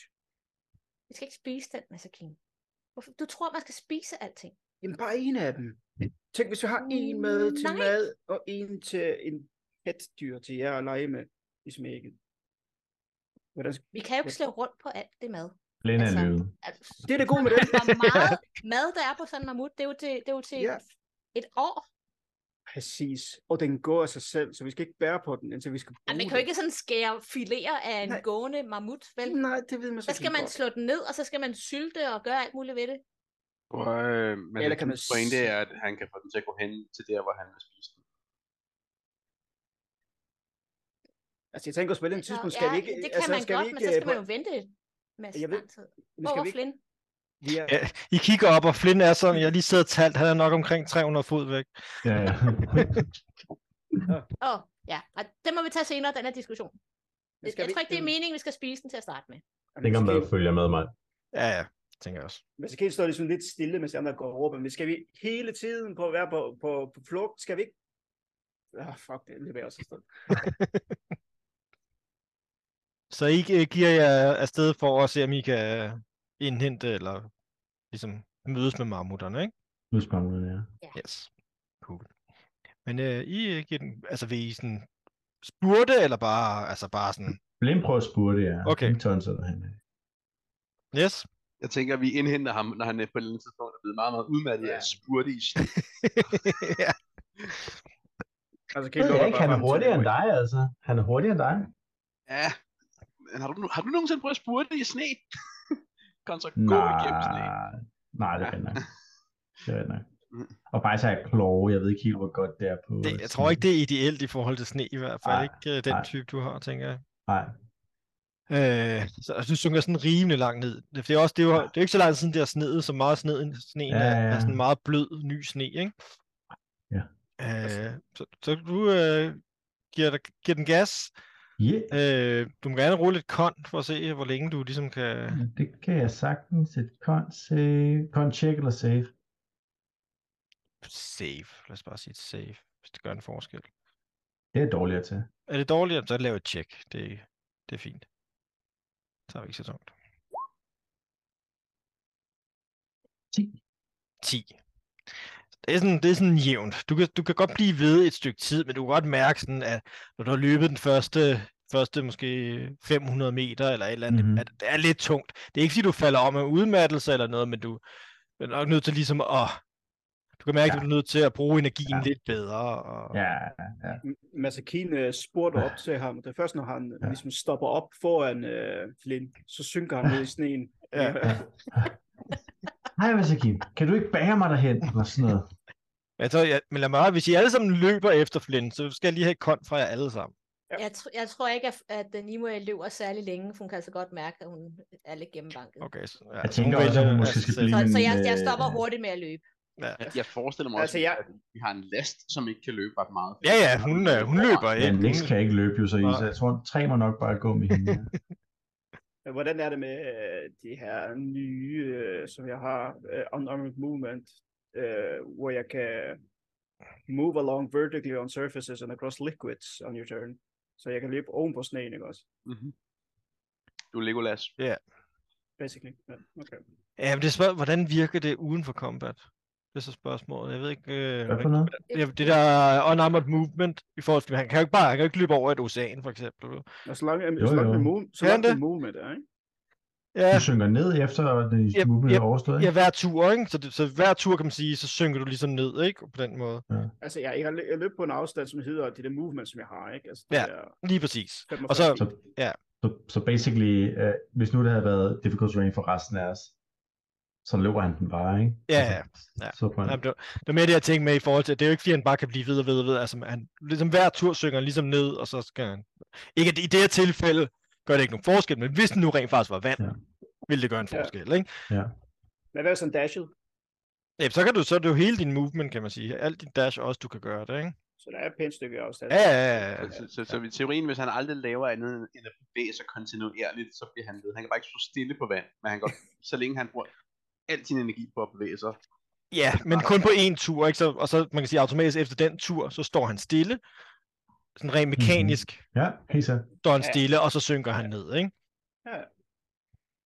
Speaker 4: Vi skal ikke spise den, maskin. Hvorfor? Du tror, man skal spise alting.
Speaker 3: Jamen bare en af dem. Tænk, hvis vi har en med til
Speaker 4: Mm, Nej.
Speaker 3: mad, og en til en petdyr til jer at lege med i smækket. Hvordan skal...
Speaker 4: Vi kan jo ikke
Speaker 3: Ja.
Speaker 4: slå rundt på alt det mad.
Speaker 5: Blind er
Speaker 4: Altså,
Speaker 5: løve.
Speaker 4: Altså,
Speaker 3: Det er det (laughs) gode med det.
Speaker 4: hvor meget mad der er på sådan en mammut, det er jo til, det er jo til
Speaker 3: Ja.
Speaker 4: et år.
Speaker 3: Præcis. Og den går af sig selv, så vi skal ikke bære på den, indtil vi skal bruge
Speaker 4: Jamen, man kan jo ikke sådan skære fileter af en
Speaker 3: Nej.
Speaker 4: gående mammut, vel?
Speaker 3: den. Nej, det ved man så
Speaker 4: Så skal
Speaker 3: ikke
Speaker 4: man
Speaker 3: godt.
Speaker 4: slå den ned, og så skal man sylte og gøre alt muligt ved det.
Speaker 6: Og, øh, men
Speaker 3: Eller
Speaker 6: Eller
Speaker 3: kan
Speaker 6: kan
Speaker 3: man
Speaker 6: pointe
Speaker 3: sige-
Speaker 6: er, at han kan få den til at gå hen til der, hvor han vil spise den.
Speaker 3: Altså, jeg tænker også på et eller andet
Speaker 4: Så,
Speaker 3: tidspunkt, skal
Speaker 4: ja,
Speaker 3: vi ikke...
Speaker 4: det kan
Speaker 3: altså,
Speaker 4: man
Speaker 3: skal
Speaker 4: godt,
Speaker 3: vi ikke,
Speaker 4: men så skal
Speaker 3: øh,
Speaker 4: man jo vente en masse
Speaker 3: Jeg ved-
Speaker 4: lang tid.
Speaker 3: vi skal
Speaker 4: Over
Speaker 3: vi ikke,
Speaker 4: Flynn.
Speaker 3: vi er,
Speaker 2: Ja. I kigger op, og Flynn er sådan, jeg har lige sidder og talt, han er nok omkring 300 fod væk.
Speaker 5: Ja,
Speaker 2: (laughs)
Speaker 5: ja.
Speaker 4: Åh, ja. Og det må vi tage senere, den her diskussion.
Speaker 3: vi
Speaker 4: Jeg,
Speaker 3: skal
Speaker 4: jeg
Speaker 3: vi øh,
Speaker 4: tror ikke, det er meningen, vi skal spise den til at starte med.
Speaker 3: Jamen,
Speaker 5: det kan man
Speaker 3: skal-
Speaker 5: følge med mig.
Speaker 2: Ja, ja, tænker jeg også.
Speaker 3: Men så kan det stå ligesom lidt stille, mens de andre går og råber, men skal vi hele tiden på at være på, på, på flugt? Skal vi ikke... Ah, oh, fuck, det løber jeg også afsted.
Speaker 2: Så I øh, giver jer afsted for at se, om I kan øh, indhente eller ligesom mødes med marmutterne, ikke?
Speaker 5: Nu spørger man, ja.
Speaker 2: Yes. Cool. Men øh, I øh, giver den, altså vil I sådan spurte, eller bare, altså bare sådan,
Speaker 5: Blind prøver at spurgte, ja.
Speaker 2: Okay.
Speaker 5: Ikke tonser, han er.
Speaker 2: Yes.
Speaker 6: Jeg tænker, at vi indhenter ham, når han er på et eller andet tidspunkt er blevet meget, meget udmattet
Speaker 5: Ja.
Speaker 6: af spurte i sne.
Speaker 2: (laughs) ja.
Speaker 3: Altså,
Speaker 5: Det ved jeg ikke, han er hurtigere end dig, altså. Han er hurtigere end dig.
Speaker 6: Ja. Men har du, nu- har du nogensinde prøvet at spurte i sne? (laughs) Kontra gå igennem sne.
Speaker 5: nej, det
Speaker 2: (laughs)
Speaker 5: er
Speaker 6: Ja.
Speaker 5: rigtig nok. Det er rigtig nok.
Speaker 6: Mm.
Speaker 5: Og faktisk er jeg kloge, jeg ved ikke helt, hvor godt det er på...
Speaker 2: Det, jeg tror ikke, det er ideelt i forhold til sne i hvert fald.
Speaker 5: Nej,
Speaker 2: ikke øh, den
Speaker 5: nej.
Speaker 2: type, du har, tænker jeg.
Speaker 5: Nej,
Speaker 2: Øh, så jeg synes, du synker sådan rimelig langt ned. Det er, også, det er jo det er jo ikke så langt siden, det har sneet, så meget sneen, sneen ja,
Speaker 5: Ja,
Speaker 2: ja. Er,
Speaker 5: ja.
Speaker 2: er sådan meget blød, ny sne, ikke?
Speaker 5: Ja.
Speaker 2: Øh, så, så du øh, giver, dig, giver den gas.
Speaker 5: yeah.
Speaker 2: Øh, du må gerne rulle et kon for at se, hvor længe du ligesom kan...
Speaker 5: det kan jeg sagtens. Et con save, con check eller save.
Speaker 2: Save. Lad os bare sige et save, hvis det gør en forskel.
Speaker 5: Det er jeg dårligere til.
Speaker 2: Er det dårligere, så lav et check. Det, det er fint. Så er vi ikke så tungt.
Speaker 5: 10.
Speaker 2: 10. Det er sådan, det er sådan jævnt. Du kan, du kan godt blive ved et stykke tid, men du kan godt mærke, sådan, at når du har løbet den første, første måske 500 meter eller et eller andet,
Speaker 5: Mhm.
Speaker 2: mm-hmm. at det er lidt tungt. Det er ikke, fordi du falder om af udmattelse eller noget, men du er nok nødt til ligesom at... Du kan mærke,
Speaker 5: Ja.
Speaker 2: at du er nødt til at bruge energien
Speaker 5: Ja.
Speaker 2: lidt bedre. Og... (laughs)
Speaker 5: Ja, ja.
Speaker 3: Masakin øh, spurgte op til ham. Det er først, når han
Speaker 5: Ja.
Speaker 3: ja. ligesom stopper op foran øh, Flynn, så synker han ned i sneen.
Speaker 2: Ja.
Speaker 5: ja. Hej, Vasakim. Kan du ikke bære mig derhen? Eller sådan noget.
Speaker 2: Altså, ja, men lad mig høre, hvis I alle sammen løber efter Flynn, så skal jeg lige have kont fra jer alle sammen.
Speaker 3: Ja.
Speaker 4: Jeg, tr- jeg tror ikke, at, at øh, Nimue løber særlig længe, for hun kan altså godt mærke, at hun er lidt gennembanket.
Speaker 2: Okay, så, ja,
Speaker 5: Jeg
Speaker 2: så
Speaker 5: tænker også, at hun måske
Speaker 2: altså
Speaker 5: skal
Speaker 2: selv.
Speaker 4: Så,
Speaker 5: blive- Men,
Speaker 4: så jeg, jeg
Speaker 5: øh,
Speaker 4: stopper hurtigt med at løbe.
Speaker 2: Ja,
Speaker 6: Jeg, jeg forestiller mig
Speaker 3: Altså,
Speaker 6: også,
Speaker 3: jeg-
Speaker 6: at vi har en last, som ikke kan løbe ret meget.
Speaker 2: ja, ja hun, øh, hun løber
Speaker 5: Men Nix
Speaker 2: ikke.
Speaker 5: kan ikke løbe jo, så, I,
Speaker 2: Nej.
Speaker 5: så jeg tror, tre må nok bare gå med hende.
Speaker 3: (laughs)
Speaker 2: (laughs)
Speaker 3: Øh, Hvordan er det med øh, de her nye, øh, som jeg har, øh, Unarmored Movement, øh, hvor jeg kan move along vertically on surfaces and across liquids on your turn. Så jeg kan løbe oven på sneen, ikke også?
Speaker 6: Mm-hmm. Du er Legolas.
Speaker 3: Basically. Ja, okay.
Speaker 2: Ja, men det er spørg- hvordan virker det uden for combat? Det er så spørgsmålet. Jeg ved ikke, øh,
Speaker 5: Hvad for
Speaker 2: rigtig,
Speaker 5: noget?
Speaker 2: hvordan- ja, det der unarmored movement, i forhold til, han kan jo ikke bare, han kan jo ikke løbe over et ocean, for eksempel. vel?
Speaker 3: Og så langt,
Speaker 5: Jo,
Speaker 3: så langt,
Speaker 5: jo.
Speaker 3: det move, så
Speaker 2: Kan
Speaker 3: langt
Speaker 2: det?
Speaker 3: det movement er, ikke?
Speaker 2: Ja,
Speaker 5: Du synker ned efter, at den
Speaker 2: Jep,
Speaker 5: movement
Speaker 2: jep,
Speaker 5: er overstået,
Speaker 2: ja,
Speaker 5: ikke?
Speaker 2: hver tur, ikke? Så, det, så hver tur, kan man sige, så synker du ligesom ned, ikke? På den måde.
Speaker 3: Altså, jeg, jeg, har lø- jeg løb på en afstand, som hedder det der movement, som jeg har, ikke? Altså, det
Speaker 2: Ja.
Speaker 3: der
Speaker 2: Lige præcis.
Speaker 3: 45
Speaker 2: Og så-
Speaker 5: Så,
Speaker 3: feet.
Speaker 2: Ja.
Speaker 5: så, så basically, øh, hvis nu det havde været difficult terrain for resten af os, så løber han den bare, ikke?
Speaker 2: Ja,
Speaker 5: Altså,
Speaker 2: ja.
Speaker 5: Så på en...
Speaker 2: Jamen, det, var, det var mere det, jeg tænkte med i forhold til, at det er jo ikke, fordi han bare kan blive ved og ved og ved. Altså, han, ligesom hver tur synger han ligesom ned, og så skal han... Ikke, at det- i det her tilfælde gør det ikke nogen forskel, men hvis den nu rent faktisk var vand,
Speaker 5: Ja.
Speaker 2: ja. ville det gøre en
Speaker 3: Ja.
Speaker 2: forskel, ja. ikke?
Speaker 3: Men hvad er sådan dashet?
Speaker 2: Ja, så kan du så er det jo hele din movement, kan man sige. Alt din dash også, du kan gøre det, ikke?
Speaker 3: Så der er et pænt stykke afstand.
Speaker 2: Ja, ja, ja, ja.
Speaker 6: Så, så, så, i teorien, hvis han aldrig laver andet end at bevæge sig kontinuerligt, så bliver han ved. Han kan bare ikke stå stille på vand, men han kan godt, så længe han bruger al sin energi på at bevæge sig.
Speaker 2: Ja, men kun på én tur, ikke? Så, og så man kan sige, automatisk efter den tur, så står han stille. Sådan rent mekanisk mm-hmm.
Speaker 5: Ja, helt så.
Speaker 2: står han
Speaker 3: Ja.
Speaker 2: stille, og så synker han ned, ikke?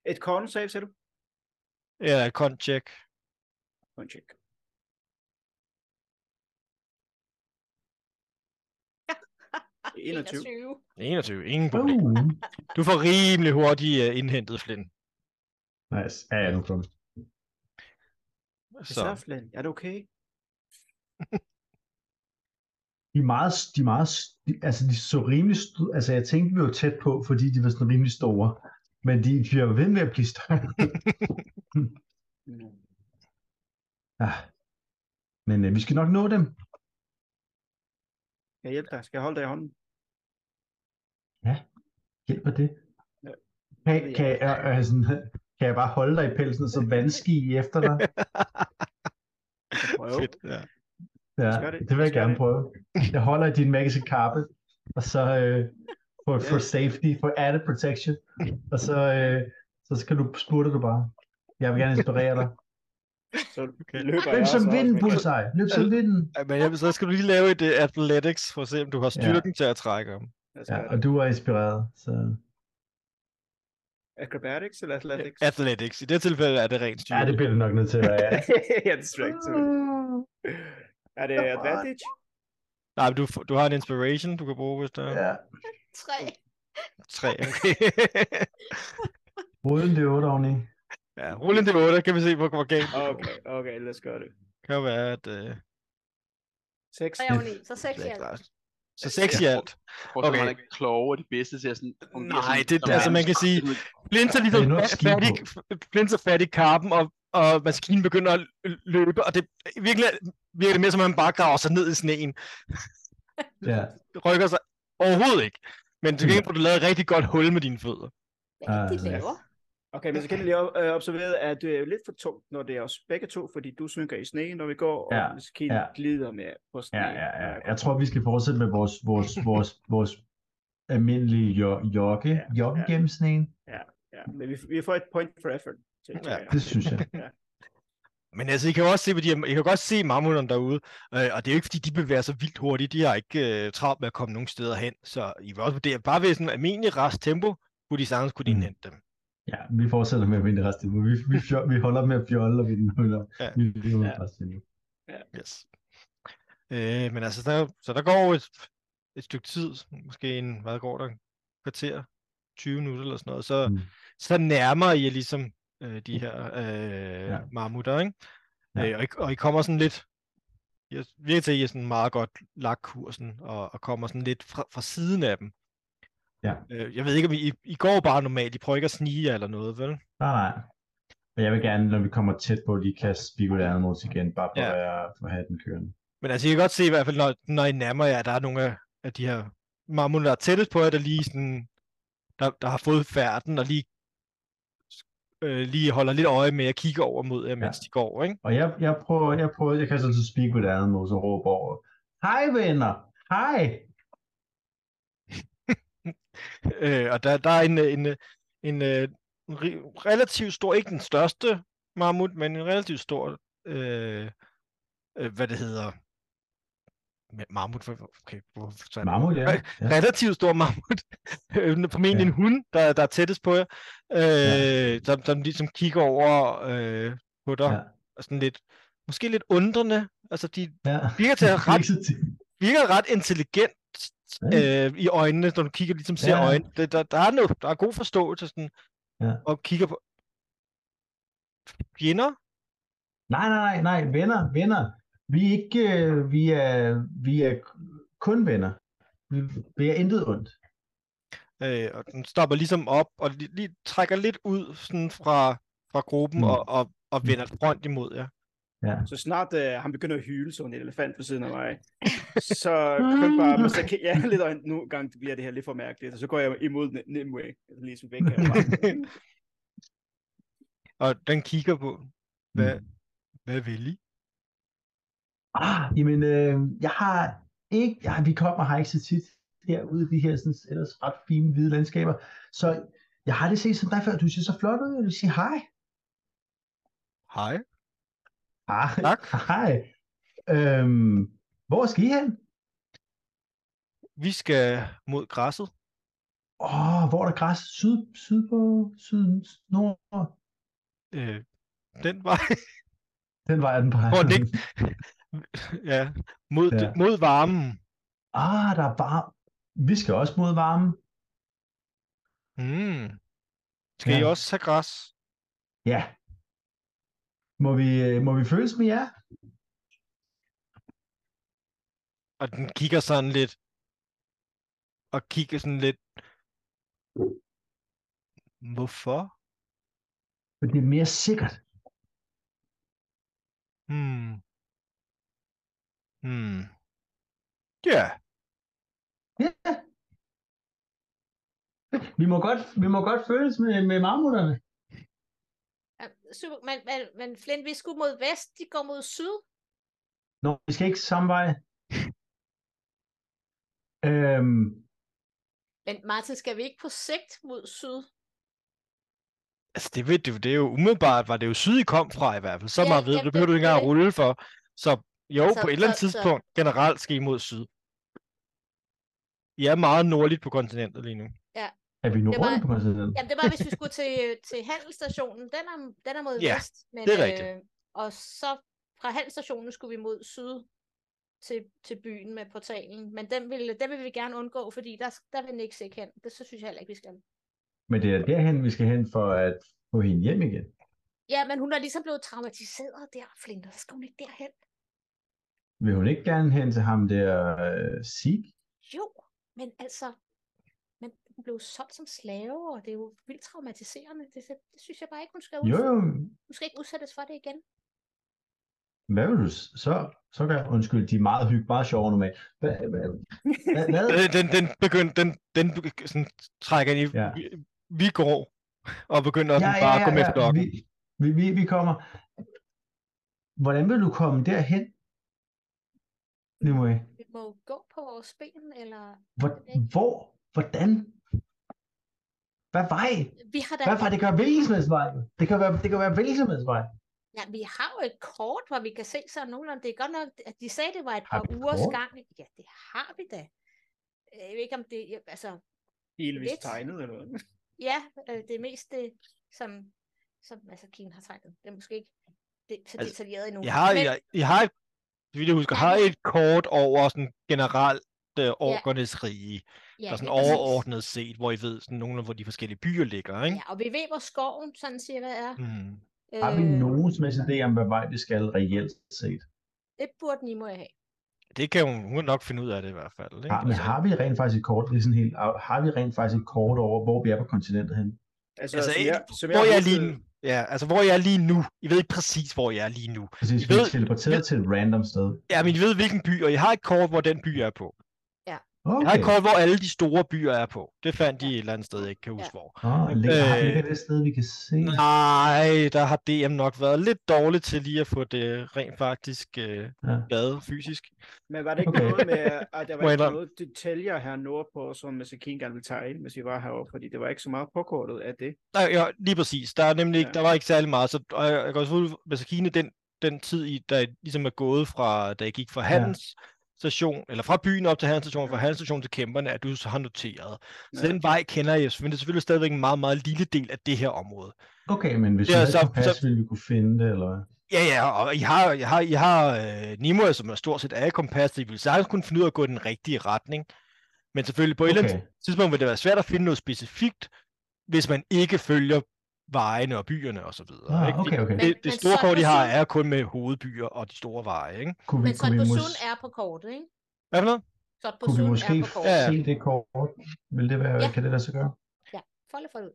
Speaker 3: Et con save, siger du?
Speaker 2: Eller et con check.
Speaker 3: Con check.
Speaker 4: Ah,
Speaker 3: 21.
Speaker 4: 21.
Speaker 2: 21, ingen problem.
Speaker 5: Uh,
Speaker 2: Du får rimelig hurtigt uh, indhentet, Flynn.
Speaker 5: nice. Ja, ja, nu kom.
Speaker 3: Så.
Speaker 2: Så.
Speaker 3: er det okay?
Speaker 5: De er meget, de er meget, de, altså de så rimelig, st- altså jeg tænkte, vi var tæt på, fordi de var sådan rimelig store, men de bliver jo ved med at blive større.
Speaker 3: Mm.
Speaker 5: ja. Ah. Men øh, vi skal nok nå dem.
Speaker 3: Skal jeg hjælpe dig? Skal jeg holde dig i hånden?
Speaker 5: Hjælper det?
Speaker 3: Ja.
Speaker 5: Kan,
Speaker 3: ved jeg
Speaker 5: kan,
Speaker 3: ikke.
Speaker 5: jeg, øh, sådan, kan jeg bare holde dig i pelsen og så vandski efter dig?
Speaker 3: Prøv.
Speaker 2: Fedt, ja.
Speaker 5: Ja,
Speaker 3: gør det.
Speaker 5: det vil
Speaker 3: Lad
Speaker 5: jeg
Speaker 3: os gøre
Speaker 5: gerne
Speaker 3: det.
Speaker 5: prøve. Jeg holder i din magiske kappe, og så øh, for, for safety, for added protection, og så, øh, så skal du spurte du bare. Jeg vil gerne inspirere (laughs) dig.
Speaker 3: Så løber
Speaker 5: Løb
Speaker 3: jeg
Speaker 5: som
Speaker 3: også over,
Speaker 5: vinden,
Speaker 3: men-
Speaker 5: Bullseye! Løb som vinden!
Speaker 2: Ej, Men jamen, så skal du lige lave et uh, athletics, for at se, om du har styrken ja. til at trække ham.
Speaker 3: Lad os
Speaker 5: Ja,
Speaker 3: gøre
Speaker 5: og
Speaker 3: Altså, det.
Speaker 5: du var inspireret, så...
Speaker 3: Acrobatics eller athletics?
Speaker 2: Athletics. I det tilfælde er det rent styrke.
Speaker 5: Ja, det bliver det nok nødt til at være, ja.
Speaker 3: (laughs) ja, det er ikke til. Er det advantage?
Speaker 2: Nej, men du, f- du har en inspiration, du kan bruge, hvis der er
Speaker 5: (laughs) ja.
Speaker 4: 3.
Speaker 2: tre. Okay.
Speaker 5: Uden det er 8 oveni.
Speaker 2: Ja, rulle en d8, kan vi se, hvor, hvor galt det går.
Speaker 3: Okay, okay, lad os gøre det.
Speaker 2: Kan jo være, at... Øh,
Speaker 3: 6.
Speaker 4: Så er jeg jo ni, så seks i alt.
Speaker 2: så seks i
Speaker 6: Ja.
Speaker 2: alt.
Speaker 6: Prøv at okay.
Speaker 2: Okay.
Speaker 6: man er ikke kloge og de bedste til at sådan... fungere
Speaker 2: Nej,
Speaker 6: sådan-
Speaker 2: det-
Speaker 6: som-
Speaker 2: altså, man kan sige, Flinter ligesom
Speaker 5: Det er noget
Speaker 2: fat- fat
Speaker 5: skidt
Speaker 2: i, f- flinter fat i karpen, og, og maskinen begynder at l- løbe, og det virkelig virker det mere, som om han bare graver sig ned i sneen.
Speaker 5: Ja,
Speaker 2: Rykker sig overhovedet ikke. Men til
Speaker 5: Ja.
Speaker 2: gengæld får du lavet et rigtig godt hul med dine fødder.
Speaker 4: Hvad er det, de
Speaker 5: Ah,
Speaker 4: laver?
Speaker 3: Okay, men så kan jeg lige øh, observere, at det er lidt for tungt, når det er os begge to, fordi du synker i sneen, når vi går,
Speaker 5: Ja,
Speaker 3: og Maskin
Speaker 5: ja.
Speaker 3: glider med på sneen.
Speaker 5: ja, ja,
Speaker 3: når
Speaker 5: ja.
Speaker 3: jeg går.
Speaker 5: Jeg tror, vi skal fortsætte med vores, vores, vores, vores almindelige jo- jogge,
Speaker 3: Ja,
Speaker 5: jogge
Speaker 3: ja.
Speaker 5: gennem sneen.
Speaker 3: Ja, men vi, vi får et point for effort. Til,
Speaker 2: Ja,
Speaker 5: Det synes
Speaker 3: (laughs)
Speaker 5: jeg.
Speaker 2: Men altså, I kan jo også se, fordi I kan jo godt se mammutterne derude, øh, og det er jo ikke, fordi de bevæger sig vildt hurtigt. De har ikke øh, travlt med at komme nogen steder hen, så I vil også vurdere, bare ved sådan en almindelig rest tempo, kunne de sagtens kunne
Speaker 5: Mm.
Speaker 2: indhente dem.
Speaker 5: Ja, vi fortsætter med at vinde resten. Vi, vi, fjo- vi holder med at fjolle, og vi holder.
Speaker 2: Ja.
Speaker 5: Vi, vi holder
Speaker 3: Ja.
Speaker 5: resten.
Speaker 2: Yes. Øh, men altså, der, så der går jo et, et stykke tid, måske en, hvad går der, kvarter, 20 minutter eller sådan noget, så,
Speaker 5: Mm.
Speaker 2: mm. så nærmer I jer ligesom øh, de her øh,
Speaker 5: Ja.
Speaker 2: ja. marmutter, ikke?
Speaker 5: Ja.
Speaker 2: Ja. Øh, og, I, og I kommer sådan lidt, jeg virker til, at I er sådan meget godt lagt kursen, og, og kommer sådan lidt fra, fra siden af dem.
Speaker 5: Ja.
Speaker 2: Øh, jeg ved ikke, om I, I, I går bare normalt, I prøver ikke at snige jer eller noget, vel?
Speaker 5: Nej, nej. Men jeg vil gerne, når vi kommer tæt på, lige kaste Spigul Animals igen, bare for,
Speaker 2: Ja.
Speaker 5: ja. at, være- for at have den kørende.
Speaker 2: Men altså, I kan godt se i hvert fald, når, når I nærmer jer, at der er nogle af, af de her mammutter, der er tættest på jer, der lige sådan, der, der har fået færden, og lige, øh, lige holder lidt øje med at kigge over mod jer, mens ja. de går, ikke?
Speaker 5: Og jeg, jeg prøver, jeg prøver, jeg kaster til Spigul Animals og råber over, Hej venner! Hej!
Speaker 2: Øh, og der, der er en, øh, en, øh, en, øh, en ri- relativt stor, ikke den største mammut, men en relativt stor, øh, øh, hvad det hedder, Ma- mammut, for- okay, hvorfor sagde jeg
Speaker 5: Mammut, ja.
Speaker 2: Hej.
Speaker 5: ja.
Speaker 2: relativt stor mammut, (laughs) Øh, formentlig
Speaker 5: Ja.
Speaker 2: en hund, der, der er tættest på jer, øh, ja. som, som ligesom kigger over øh, på dig,
Speaker 5: Ja.
Speaker 2: ja. og sådan lidt, måske lidt undrende, altså de
Speaker 5: ja.
Speaker 2: virker til at ret,
Speaker 5: (laughs) Ikke så tit.
Speaker 2: virker ret intelligent
Speaker 5: Ja.
Speaker 2: øh, i øjnene, når du kigger, ligesom ser
Speaker 5: Ja.
Speaker 2: ja. øjnene, det, der, der, er noget, der er god forståelse, sådan,
Speaker 5: Ja.
Speaker 2: og kigger på, fjender,
Speaker 5: Nej, nej, nej, nej, venner, venner. Vi er ikke, øh, vi er, vi er kun venner. Vi, vi er intet ondt.
Speaker 2: Øh, og den stopper ligesom op og lige, lige trækker lidt ud sådan fra, fra gruppen
Speaker 5: Mm.
Speaker 2: mm. og, og, og
Speaker 5: Mm.
Speaker 2: vender front imod jer.
Speaker 3: Så snart øh, han begynder at hyle som en elefant ved siden af mig, så kun bare, hvis jeg kan, ja, (laughs) lidt øjne, nu gang bliver det her lidt for mærkeligt, og så går jeg imod Ni- Nimue, ligesom væk herfra.
Speaker 2: (laughs) og den kigger på, hvad,
Speaker 5: Mm.
Speaker 2: hvad vil I?
Speaker 5: Ah, jamen, øh, jeg har ikke, ja, vi kommer her ikke så tit herude i de her sådan, ellers ret fine hvide landskaber, så jeg har aldrig set som dig før. Du ser så flot ud, jeg vil sige hej.
Speaker 2: Hej.
Speaker 5: Ah,
Speaker 2: Tak.
Speaker 5: (laughs) Hej. Øhm, hvor skal I hen?
Speaker 2: Vi skal mod græsset.
Speaker 5: Åh, oh, hvor er der græs? Syd, syd på, syd, nord.
Speaker 2: Øh, den vej. (laughs)
Speaker 5: Den vej er den bare.
Speaker 2: Hvor er det ikke? ja, mod,
Speaker 5: Ja.
Speaker 2: ja. mod varmen.
Speaker 5: Ah, der er varm. Vi skal også mod varmen.
Speaker 2: Mm. Skal ja. I
Speaker 5: Ja.
Speaker 2: også have græs?
Speaker 5: Ja. Må vi, øh, må vi føles med jer?
Speaker 2: Og den kigger sådan lidt. Og kigger sådan lidt. Hvorfor?
Speaker 5: For det er mere sikkert.
Speaker 2: Hmm. Hmm. Ja,
Speaker 5: Ja. Vi må godt, vi må godt føles med, med marmutterne.
Speaker 4: Ja, Super, men, men, men Flint, vi skulle mod vest, de går mod syd.
Speaker 5: Nå, vi skal ikke samme vej. Øhm,
Speaker 4: Men Martin, skal vi ikke på sigt mod syd?
Speaker 2: altså det, ved du, det er jo umiddelbart, var det jo syd, I kom fra i hvert fald. Så
Speaker 4: Ja,
Speaker 2: meget ved
Speaker 4: ja,
Speaker 2: du, det
Speaker 4: det-
Speaker 2: behøver du ikke
Speaker 4: det er
Speaker 2: engang at rulle for. Så jo,
Speaker 4: Så-
Speaker 2: på et eller andet
Speaker 4: så- så-
Speaker 2: tidspunkt, generelt skal I mod syd. I er meget nordligt på kontinentet lige nu.
Speaker 5: er vi nu
Speaker 4: Det var-
Speaker 5: rundt på kontinentet?
Speaker 4: Jamen, det var, hvis vi skulle til, øh, til handelsstationen. Den er, den er mod
Speaker 2: Ja,
Speaker 4: vest. Men,
Speaker 2: det er rigtigt.
Speaker 4: Øh, og så fra handelsstationen skulle vi mod syd til, til byen med portalen. Men den vil, den vil vi gerne undgå, fordi der, der vil Nix ikke hen. Det så synes jeg heller ikke, vi skal.
Speaker 5: Men det er derhen, vi skal hen for at få hende hjem igen.
Speaker 4: Ja, men hun er ligesom blevet traumatiseret der, Flinter. Så skal hun ikke derhen.
Speaker 5: Vil hun ikke gerne hen til ham der øh, Sig?
Speaker 4: Jo, men altså, men hun blev solgt som slave, og det er jo vildt traumatiserende. Det, det, det synes jeg bare ikke, hun skal,
Speaker 5: Jo,
Speaker 4: udsættes.
Speaker 5: jo.
Speaker 4: hun skal ikke udsættes for det igen.
Speaker 5: Hvad vil du s- så, så gør? Undskyld, de er meget hygge, meget sjove normalt. Hvad, hvad, hvad,
Speaker 2: (laughs)
Speaker 5: hvad?
Speaker 2: Øh, Den, den, begynd, den, den begy- sådan, trækker ind i,
Speaker 5: Ja.
Speaker 2: ja. vi, vi går, og begynder ja, sådan, bare ja, ja, at gå med ja, flokken.
Speaker 5: Vi, vi, vi, vi kommer. Hvordan vil du komme derhen? Nimue,
Speaker 4: Vi må jo gå på vores ben, eller...
Speaker 5: hvor, hvor, hvordan? Hvad vej?
Speaker 4: Vi har da...
Speaker 5: Hvad vej? Det kan være hvilken som helst vej. Det kan være, det kan være hvilken som helst vej.
Speaker 4: Ja, vi har jo et kort, hvor vi kan se sådan nogenlunde. Det er godt nok, at de sagde, det var et
Speaker 5: Har
Speaker 4: par
Speaker 5: vi et
Speaker 4: ugers
Speaker 5: kort?
Speaker 4: gang. Ja, det har vi da. Jeg ved ikke, om det... jeg- Altså,
Speaker 3: Delvis
Speaker 4: Lidt.
Speaker 3: tegnet eller noget.
Speaker 4: ja, øh, det er mest det, som, som altså, Kien har tegnet. Det er måske ikke det, så
Speaker 2: Altså,
Speaker 4: detaljeret endnu.
Speaker 2: Jeg har,
Speaker 4: men,
Speaker 2: jeg, jeg har, et- så vidt jeg husker,
Speaker 4: Ja,
Speaker 2: har
Speaker 4: men-
Speaker 2: et kort over sådan generelt øh, orkernes rige, ja,
Speaker 4: ja,
Speaker 5: altså,
Speaker 2: og sådan
Speaker 4: lige præcis.
Speaker 2: overordnet set, hvor I ved sådan nogle af, hvor de forskellige byer ligger, ikke?
Speaker 4: Ja, og vi ved, hvor skoven sådan cirka er.
Speaker 2: Ja. Mm.
Speaker 5: Har vi
Speaker 4: Øh,
Speaker 5: nogen som helst idé om, hvad vej det skal reelt set?
Speaker 4: Det burde Nimo have.
Speaker 2: Det kan hun, hun kan nok finde ud af det i hvert fald, ikke? Altså,
Speaker 5: Har, men har vi rent faktisk et kort, det er sådan helt, har vi rent faktisk et kort over, hvor vi er på kontinentet hen?
Speaker 3: Altså,
Speaker 2: Altså,
Speaker 3: som
Speaker 2: et-
Speaker 3: jeg, som
Speaker 2: hvor jeg er
Speaker 3: huskede-
Speaker 2: lige nu. Ja, altså hvor jeg er lige nu. I ved ikke præcis, hvor jeg er lige nu.
Speaker 5: Præcis,
Speaker 2: I
Speaker 5: vi er
Speaker 2: ved-
Speaker 5: teleporteret til et random sted.
Speaker 2: Ja, men I ved, hvilken by, og jeg har et kort, hvor den by er på. Jeg har
Speaker 5: Okay.
Speaker 2: et kort, hvor alle de store byer er på. Det fandt de et eller andet sted, jeg ikke kan huske hvor.
Speaker 5: Oh, ligger, øh...
Speaker 2: Øh,
Speaker 5: ligger det sted, vi kan se?
Speaker 2: Nej, der har DM nok været lidt dårligt til lige at få det rent faktisk øh,
Speaker 5: Ja.
Speaker 2: lavet fysisk.
Speaker 3: Men var det ikke
Speaker 5: Okay.
Speaker 3: noget med,
Speaker 4: (laughs)
Speaker 2: Må
Speaker 3: at der var
Speaker 2: jeg
Speaker 3: ikke
Speaker 2: indrømme?
Speaker 3: noget detaljer her nordpå, som Masakin gerne ville tegne, hvis vi var heroppe, fordi det var ikke så meget påkortet af det.
Speaker 2: Nej, ja, lige præcis. Der, er nemlig ikke,
Speaker 3: Ja.
Speaker 2: der var ikke særlig meget. Så, og jeg, jeg går også ud med Sakine, den, den tid, I, der ligesom er gået fra, da jeg gik fra Hans station, eller fra byen op til Hans station, fra Hans station til kæmperne, at du så har noteret. Så
Speaker 3: Ja.
Speaker 2: den vej kender jeg, men det er selvfølgelig stadigvæk en meget, meget lille del af det her område.
Speaker 5: Okay, men hvis
Speaker 2: Det
Speaker 5: det
Speaker 2: er
Speaker 5: vi så,
Speaker 2: så-
Speaker 5: kompas, så... ville vi kunne finde det, eller hvad?
Speaker 2: Ja, ja, og I har, I har, I har øh, Nimue, som er stort set alle kompas, så I vil sagtens kunne finde ud af at gå i den rigtige retning. Men selvfølgelig på okay. et eller
Speaker 5: Okay,
Speaker 2: andet tidspunkt vil det være svært at finde noget specifikt, hvis man ikke følger vejene og byerne og så videre.
Speaker 5: ah,
Speaker 2: ikke?
Speaker 5: okay, okay.
Speaker 4: Men-
Speaker 2: Det, det
Speaker 4: men
Speaker 2: store
Speaker 4: Solna
Speaker 2: kort, de har,
Speaker 4: Sund-
Speaker 2: er kun med hovedbyer og de store veje, ikke?
Speaker 5: Kunne vi,
Speaker 4: Men
Speaker 5: kunne
Speaker 4: Sot
Speaker 5: vi,
Speaker 4: på
Speaker 5: mås-
Speaker 4: Sund er på kortet, ikke?
Speaker 2: Hvad for noget?
Speaker 4: Sot på
Speaker 5: kunne vi
Speaker 4: Sund
Speaker 5: måske
Speaker 4: er på kortet.
Speaker 2: Ja,
Speaker 5: ja.
Speaker 2: ja.
Speaker 5: se det kort? Vil det være,
Speaker 4: Ja.
Speaker 5: ja. kan det lade sig gøre?
Speaker 4: Folde for det ud.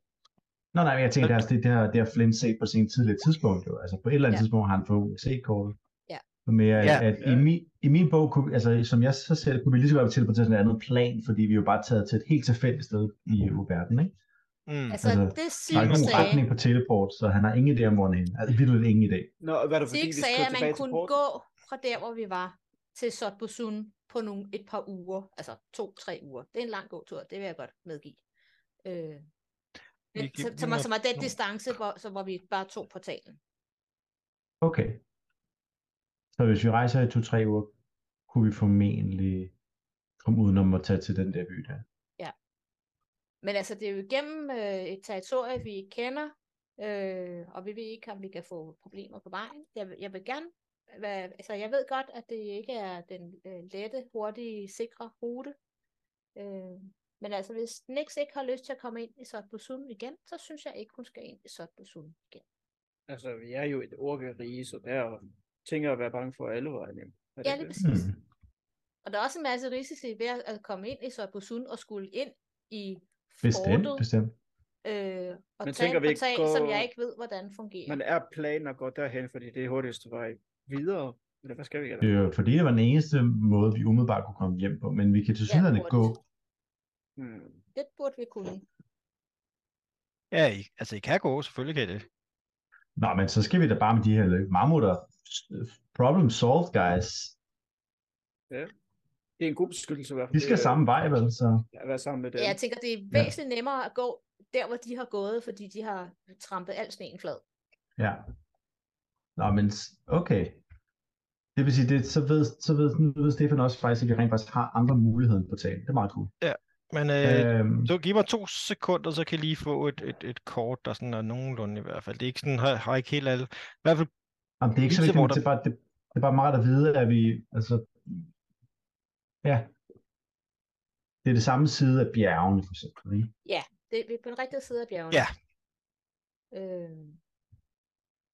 Speaker 5: Nå, nej, men jeg tænkte altså, det, det har, det har Flint set på sin tidligere tidspunkt, jo. Altså, på et eller andet
Speaker 4: Ja.
Speaker 5: ja. tidspunkt har han fået set kortet.
Speaker 4: Ja.
Speaker 5: Og Mere, at,
Speaker 2: Ja.
Speaker 5: at i, min, i min bog, kunne, vi- altså, som jeg så ser det, kunne vi lige så godt til på til sådan et andet plan, fordi vi er jo bare taget til et helt tilfældigt sted i øh, verden, ikke?
Speaker 2: Mm.
Speaker 4: Altså,
Speaker 5: Altså,
Speaker 4: det
Speaker 5: Der er
Speaker 4: Sig
Speaker 5: ikke nogen
Speaker 4: sagde,
Speaker 5: retning på teleport, så han har ingen idé om, hvor han er henne. Altså, vildt ingen idé.
Speaker 3: Nå, og var det fordi,
Speaker 4: Sig
Speaker 3: vi
Speaker 4: sagde,
Speaker 3: skulle
Speaker 4: at man
Speaker 3: tilbage til
Speaker 4: kunne
Speaker 3: porten?
Speaker 4: gå fra der, hvor vi var, til Sot på Sund på nogle, et par uger. Altså to-tre uger. Det er en lang god tur, det vil jeg godt medgive. Øh, men,
Speaker 2: kan-
Speaker 4: så,
Speaker 2: vi
Speaker 4: som,
Speaker 2: må-
Speaker 4: er- som er den
Speaker 2: nå.
Speaker 4: distance, hvor, så, hvor vi bare tog portalen.
Speaker 5: Okay. Så hvis vi rejser i to-tre uger, kunne vi formentlig komme udenom at tage til den der by der.
Speaker 4: Men altså, det er jo igennem øh, et territorie, vi ikke kender, øh, og vi ved ikke, om vi kan få problemer på vejen. Jeg, vil- jeg vil gerne, hvad, altså jeg ved godt, at det ikke er den øh, lette, hurtige, sikre rute. Øh, men altså, hvis Nix ikke har lyst til at komme ind i Sotbusun igen, så synes jeg ikke, hun skal ind i Sotbusun igen.
Speaker 3: Altså, vi er jo et orkerige, så der er tænker at være bange for alle vejen.
Speaker 4: Ja, lige præcis.
Speaker 5: Hmm.
Speaker 4: Og der er også en masse risici ved at- at komme ind i Sotbusun og skulle ind i
Speaker 5: Bestemt,
Speaker 4: fortet
Speaker 5: bestemt.
Speaker 4: øh, og tage
Speaker 3: Men tænker
Speaker 4: en
Speaker 3: vi ikke
Speaker 4: portal, som jeg
Speaker 3: gå-
Speaker 4: ikke ved, hvordan fungerer.
Speaker 3: Men er planen at gå derhen, fordi det er hurtigste vej videre? Eller hvad skal vi gøre?
Speaker 5: Det er jo fordi, Øh, det var den eneste måde, vi umiddelbart kunne komme hjem på, men vi kan til synligheden
Speaker 4: hurtigt.
Speaker 5: gå.
Speaker 3: Hmm.
Speaker 4: Det burde vi kunne.
Speaker 2: Ja, I, altså I kan gå, selvfølgelig kan I det.
Speaker 5: Nå, men så skal vi da bare med de her løb. Mammutter, problem solved, guys.
Speaker 3: Det er en god beskyttelse i hvert fald.
Speaker 5: De skal
Speaker 3: øh,
Speaker 5: samme vej, vel? Så
Speaker 3: At være sammen med dem.
Speaker 4: Ja, jeg tænker, det er væsentligt nemmere at gå der, hvor de har gået, fordi de har trampet al sneen flad.
Speaker 5: ja. Nå, men s- okay. Det vil sige, det, så, ved, så ved, nu ved Stefan også faktisk, at vi rent faktisk har andre muligheder end portalen. Det er meget cool.
Speaker 2: Men øh,
Speaker 5: Øhm,
Speaker 2: så giv mig to sekunder, så kan I lige få et, et, et kort, der sådan er nogenlunde i hvert fald. Det er ikke sådan, har, har ikke helt alle... I hvert fald,
Speaker 5: Jamen, det er ikke så
Speaker 2: Viser,
Speaker 5: vigtigt,
Speaker 2: hvor
Speaker 5: men det
Speaker 2: der-
Speaker 5: er, bare, det, det er bare meget at vide, at vi, altså, ja, det er det samme side af bjergene, for eksempel. Ikke?
Speaker 4: Det er på den rigtige side af bjergene.
Speaker 2: Ja.
Speaker 4: Øh,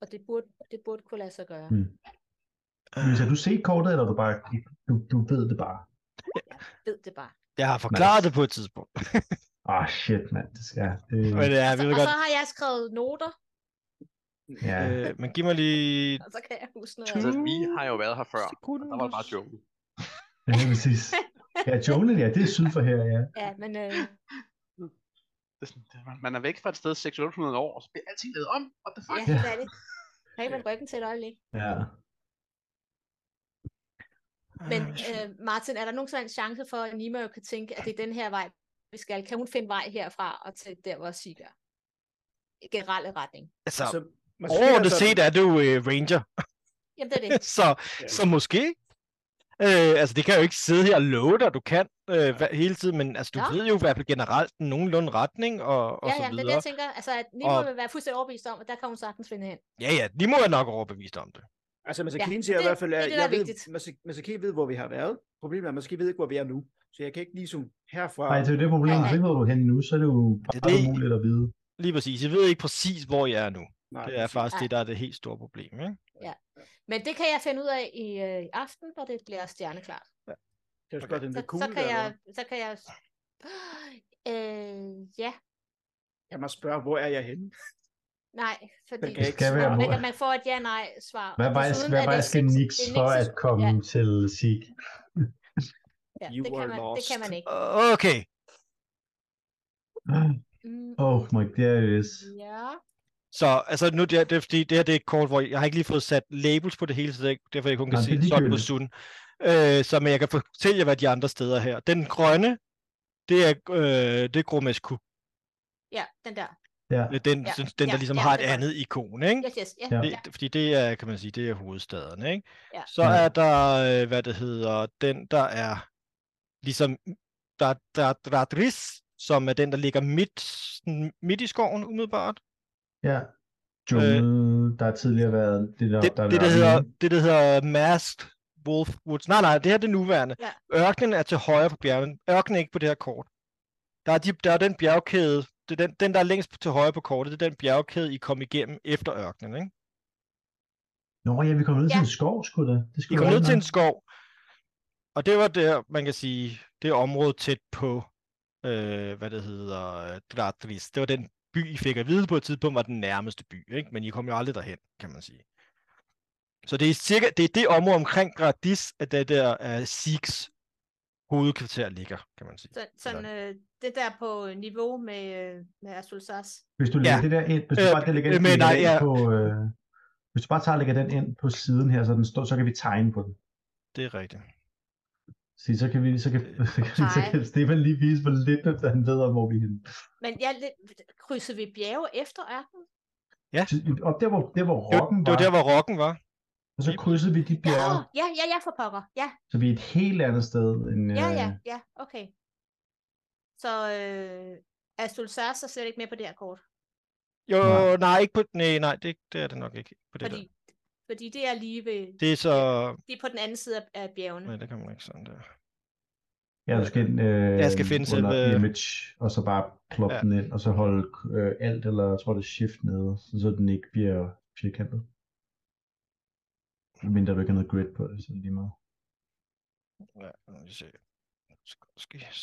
Speaker 4: Og det burde, det burde kunne lade sig gøre.
Speaker 5: Mm. Louise, har du set kortet, eller er du bare, du, du ved det bare?
Speaker 4: Ved det bare.
Speaker 2: Jeg har
Speaker 5: Altså-
Speaker 2: forklaret det på et tidspunkt. (laughs)
Speaker 5: Ah, oh, shit, mand. Det skal jeg. Det...
Speaker 2: Men ja, vi
Speaker 4: Så,
Speaker 2: ved
Speaker 4: og
Speaker 2: godt.
Speaker 4: så har jeg skrevet noter,
Speaker 5: Ja.
Speaker 2: Øh, men giv mig lige...
Speaker 4: og så kan jeg huske noget.
Speaker 6: Altså,
Speaker 4: andet.
Speaker 6: vi har jo været her før. og Der var det bare
Speaker 2: Sekundus.
Speaker 6: joke.
Speaker 5: Ja, lige præcis. Ja, Jolen, ja, det er syd for her, ja.
Speaker 4: Ja, men øh,
Speaker 6: Det er sådan, det er- Man er væk fra et sted 600 år, og så bliver alting lavet om. What the fuck?
Speaker 4: ja, det er det. Kan ikke man ryggen til et øjeblik?
Speaker 5: Ja. Ah,
Speaker 4: Men øh, Martin, er der nogensinde en chance for, at Nima jo kan tænke, at det er den her vej, vi skal? Kan hun finde vej herfra og til der, hvor Sig er? I Generelle retning.
Speaker 2: Altså,
Speaker 3: Altså, man
Speaker 2: overordnet
Speaker 3: svinger
Speaker 2: set
Speaker 3: sådan-
Speaker 2: er det jo øh, ranger,
Speaker 4: Jamen,
Speaker 5: (laughs)
Speaker 4: det er det.
Speaker 2: (laughs) så, så måske... Øh, altså, det kan jeg jo ikke sidde her og love dig, du kan øh, hva- hele tiden, men altså, du
Speaker 4: Nå.
Speaker 2: ved jo i hvert fald generelt den nogenlunde retning og, og
Speaker 4: Ja,
Speaker 2: så
Speaker 4: ja, det er det,
Speaker 2: videre.
Speaker 4: jeg tænker. Altså, at Nima
Speaker 2: Og-
Speaker 4: vil være fuldstændig overbevist om, at der kan hun sagtens finde hen.
Speaker 2: Ja, ja, de må jeg nok overbevist om det.
Speaker 3: Altså,
Speaker 4: øh, Ja,
Speaker 3: Masakine ja, siger i
Speaker 4: det-
Speaker 3: hvert fald,
Speaker 4: det er
Speaker 3: at
Speaker 4: det, der
Speaker 3: jeg
Speaker 4: er vigtigt.
Speaker 3: ved, Masa- Masakine ved, hvor vi har været. Problemet er, at Masakine ved ikke, hvor vi er nu. Så jeg kan ikke ligesom herfra...
Speaker 5: Nej, det er jo det problem. Hvis
Speaker 4: Nej.
Speaker 5: ikke ved, hvor du er henne nu, så er det jo
Speaker 2: Det er
Speaker 5: bare
Speaker 2: det.
Speaker 5: umuligt at vide.
Speaker 2: Lige præcis. Jeg ved ikke præcis, hvor jeg er nu.
Speaker 3: Nej,
Speaker 2: Det er
Speaker 3: præcis.
Speaker 2: faktisk det, der er det helt store problem, ikke?
Speaker 4: Men det kan jeg finde ud af i, øh, i aften, når det bliver stjerneklart.
Speaker 3: Det er jo spørge, den
Speaker 4: Så,
Speaker 3: der kugle,
Speaker 4: så kan
Speaker 3: eller
Speaker 4: jeg...
Speaker 3: hvad?
Speaker 4: Så kan jeg (gasps) øh, ja,
Speaker 3: Kan man spørge, hvor er jeg henne?
Speaker 4: nej, fordi...
Speaker 3: kan
Speaker 5: Det skal
Speaker 4: man,
Speaker 5: være, hvor-
Speaker 4: man får et ja-nej-svar.
Speaker 5: Hvad vej,
Speaker 4: Desuden
Speaker 5: hvad
Speaker 4: er
Speaker 5: vej
Speaker 4: det
Speaker 5: skal
Speaker 4: Sigs-
Speaker 5: Nix
Speaker 4: det er
Speaker 5: for
Speaker 4: Nixes-
Speaker 5: at komme
Speaker 4: ja.
Speaker 5: til Sig?
Speaker 4: Ja,
Speaker 3: You
Speaker 4: det, kan
Speaker 3: are
Speaker 4: man, det kan man ikke.
Speaker 2: Okay.
Speaker 4: Mm,
Speaker 5: Oh my goodness.
Speaker 4: ja.
Speaker 2: Så altså nu det, er- det er fordi det her det er et kort, hvor jeg har ikke lige fået sat labels på det hele, så det er, ikke- derfor jeg kun kan
Speaker 5: Nej, det er
Speaker 2: se sådan på
Speaker 5: ligegyldigt.
Speaker 2: stunden. Øh, så men jeg kan fortælle jer, hvad de andre steder er her. Den grønne, det er, øh, det er Gromescu.
Speaker 4: ja, den der.
Speaker 5: Ja.
Speaker 2: Det er Den,
Speaker 4: Ja,
Speaker 2: ja, den der
Speaker 4: ja,
Speaker 2: ligesom
Speaker 4: ja,
Speaker 2: har et
Speaker 4: det er godt.
Speaker 2: andet ikon, ikke?
Speaker 4: Yes, yes, ja.
Speaker 5: Ja.
Speaker 4: ja.
Speaker 2: Det, det- fordi det er, kan man sige, det er hovedstaden, ikke?
Speaker 4: Ja.
Speaker 2: Så
Speaker 5: Ja.
Speaker 2: er der, øh, hvad det hedder, den der er ligesom der, der, der, Dris, som er den, der ligger midt, sådan midt i skoven umiddelbart.
Speaker 5: Ja. Jungle, der har tidligere været det, der,
Speaker 2: Øh, Det,
Speaker 5: der,
Speaker 2: det, det, der hedder, det, der hedder Masked Wolf Woods. Nej, nej, det her er det nuværende.
Speaker 4: Ja.
Speaker 2: Ørkenen er til højre på bjergen. Ørkenen er ikke på det her kort. Der er, de, der er den bjergkæde, det er den, den, der er længst til højre på kortet, det er den bjergkæde, I kom igennem efter ørkenen, ikke?
Speaker 5: Nå ja, vi kommer ned til
Speaker 4: Ja.
Speaker 5: en skov, sgu da. Det
Speaker 2: I
Speaker 5: skulle
Speaker 2: kom
Speaker 5: være
Speaker 2: ned til en
Speaker 5: nok.
Speaker 2: skov, og det var der, man kan sige, det område tæt på, øh, hvad det hedder, øh, Dratris. Det var den by, I fik at vide på et tidspunkt, var den nærmeste by, ikke? men I kom jo aldrig derhen, kan man sige. Så det er cirka, det er det område omkring Gradis, at det der uh, Sigs hovedkvarter ligger, kan man sige.
Speaker 4: Så, sådan øh, det der på niveau med, øh, med Asulsas.
Speaker 5: Hvis du lægger
Speaker 2: Ja.
Speaker 5: det der ind, hvis du
Speaker 2: Øh,
Speaker 5: bare det lægger
Speaker 2: øh,
Speaker 5: den,
Speaker 2: men
Speaker 5: lægger
Speaker 2: nej,
Speaker 5: den ind
Speaker 2: ja.
Speaker 5: på, øh, hvis du bare tager og lægger den ind på siden her, så den står, så kan vi tegne på den.
Speaker 2: Det er rigtigt.
Speaker 5: Så, så kan vi, så kan, (laughs)
Speaker 2: Øh,
Speaker 5: så kan, så kan Stefan lige vise, hvor lidt han ved om, hvor vi er henne.
Speaker 4: Men jeg er lidt, krydser vi bjerge efter ørkenen?
Speaker 5: Og der hvor, der, hvor
Speaker 2: Det, var-
Speaker 5: rocken
Speaker 2: det var
Speaker 5: var,
Speaker 2: der, hvor rocken var.
Speaker 5: og så krydsede vi de
Speaker 4: Ja,
Speaker 5: bjerge,
Speaker 4: åh, ja, ja, ja, for pokker. Ja,
Speaker 5: så vi er et helt andet sted end...
Speaker 4: ja,
Speaker 5: øh,
Speaker 4: ja, ja, okay. Så øh, Asulsas er slet ikke med på det her kort,
Speaker 2: Jo, nej,
Speaker 5: Nej.
Speaker 2: ikke på, nej, nej det, det er det nok ikke. På det,
Speaker 4: fordi,
Speaker 2: Fordi... der.
Speaker 4: fordi det er lige ved,
Speaker 2: det er så...
Speaker 4: det er på den anden side af, af bjergene.
Speaker 2: Nej, det kan man ikke sådan der.
Speaker 5: Ja, du skal ind øh,
Speaker 2: Jeg skal finde
Speaker 5: under
Speaker 2: selve-
Speaker 5: image, og så bare ploppe
Speaker 2: Ja.
Speaker 5: den ind, og så holde øh, alt, eller jeg tror det er shift nede, så, så den ikke bliver firkantet. Mindre du ikke har noget grid på det, så er det lige meget.
Speaker 2: Ja, nu skal vi se. Skis.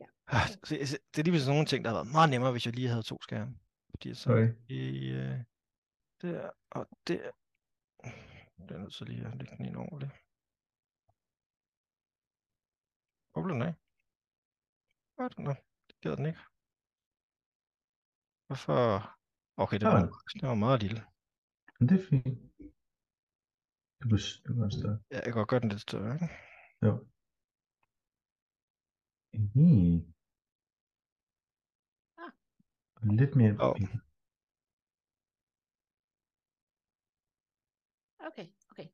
Speaker 4: Ja.
Speaker 2: Ah, se- se, Det er lige sådan nogle ting, der har været meget nemmere, hvis jeg lige havde to skærme. Fordi så
Speaker 5: Sorry.
Speaker 2: i øh, der og der. Det er nødt til lige at lægge den ind over det. Bobler den af? Hvad er den der? Det gider den ikke. Hvorfor? Okay, det var,
Speaker 5: Sådan.
Speaker 2: det var meget lille.
Speaker 5: Men det er fint. Det blev, det altså blev større.
Speaker 2: Ja, jeg kan godt gøre den lidt større, ikke?
Speaker 5: Jo. Mm.
Speaker 4: Ah.
Speaker 5: Lidt mere.
Speaker 2: Og-
Speaker 4: Okay, okay.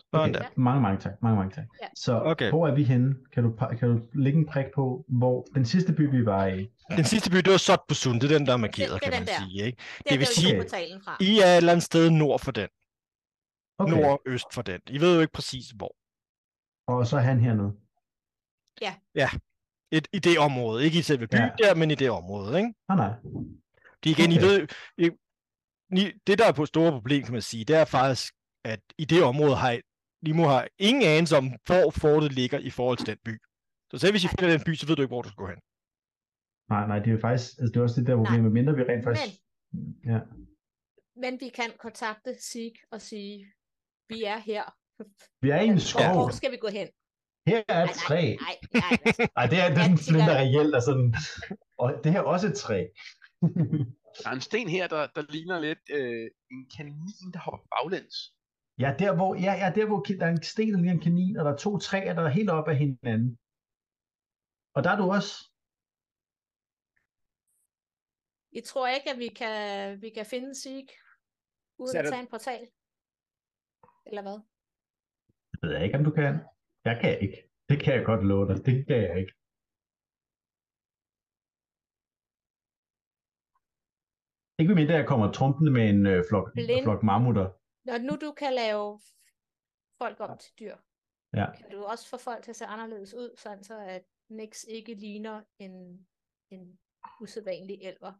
Speaker 2: Sådan
Speaker 5: Okay,
Speaker 2: der.
Speaker 5: mange, mange tak. Mange, mange tak.
Speaker 4: Ja.
Speaker 5: Så
Speaker 2: Okay.
Speaker 5: hvor er vi henne? Kan du, pa- kan du lægge en prik på, hvor den sidste by, vi var i?
Speaker 2: Den sidste by, det var Sotbusun, det er den, der er markeret,
Speaker 4: det er
Speaker 2: kan
Speaker 4: den
Speaker 2: man
Speaker 4: der.
Speaker 2: sige, ikke?
Speaker 4: Det, det
Speaker 2: vil
Speaker 4: vil
Speaker 2: sige-
Speaker 4: sige... portalen fra.
Speaker 2: I er et eller andet sted nord for den, okay.
Speaker 5: Okay.
Speaker 2: nord og øst for den. I ved jo ikke præcis hvor.
Speaker 5: Og så er han hernede.
Speaker 2: Et, I det område, ikke i selve byen
Speaker 5: Ja.
Speaker 2: der, men i det område, ikke?
Speaker 5: Ah, nej.
Speaker 2: Fordi igen, okay. I
Speaker 5: Okay.
Speaker 2: ved, I, ni- det der er på store problem, kan man sige, det er faktisk, at i det område har I- Nimo har ingen anelse om, hvor fortet ligger i forhold til den by. Så selv hvis I finder den by, så ved du ikke, hvor du skal gå hen.
Speaker 5: Nej, nej, det er jo faktisk, altså det er også det der problem, med mindre vi rent faktisk... Ja,
Speaker 4: Men vi kan kontakte Sig og sige, vi er her.
Speaker 5: vi er i en
Speaker 4: Hvor,
Speaker 5: skov.
Speaker 4: hvor skal vi gå hen?
Speaker 5: Her er et
Speaker 4: Nej,
Speaker 5: træ.
Speaker 4: nej, nej, nej, altså,
Speaker 5: Ej, det er det er
Speaker 4: Ja,
Speaker 5: sådan, lidt,
Speaker 4: det
Speaker 5: der
Speaker 4: er-
Speaker 5: reelt er sådan... Og det her er også et træ.
Speaker 6: Der er en sten her, der, der ligner lidt øh, en kanin, der hopper baglæns.
Speaker 5: Ja, der hvor, ja, ja, der hvor ki- der er en sten, der ligner en kanin, og der er to træer, der er helt op ad hinanden. Og der er du også.
Speaker 4: I tror ikke, at vi kan, vi kan finde Sig uden
Speaker 3: Så er
Speaker 4: at
Speaker 3: det-
Speaker 4: tage en portal? Eller hvad?
Speaker 5: Det ved jeg ikke, om du kan. Jeg kan ikke. Det kan jeg godt love dig. Det kan jeg ikke. Ikke mindre, jeg kommer trumpende med en øh, flok,
Speaker 4: Blind.
Speaker 5: flok mammutter.
Speaker 4: Når nu du kan lave folk om til dyr,
Speaker 5: Ja.
Speaker 4: kan du også få folk til at se anderledes ud, sådan så at Nix ikke ligner en, en usædvanlig elver.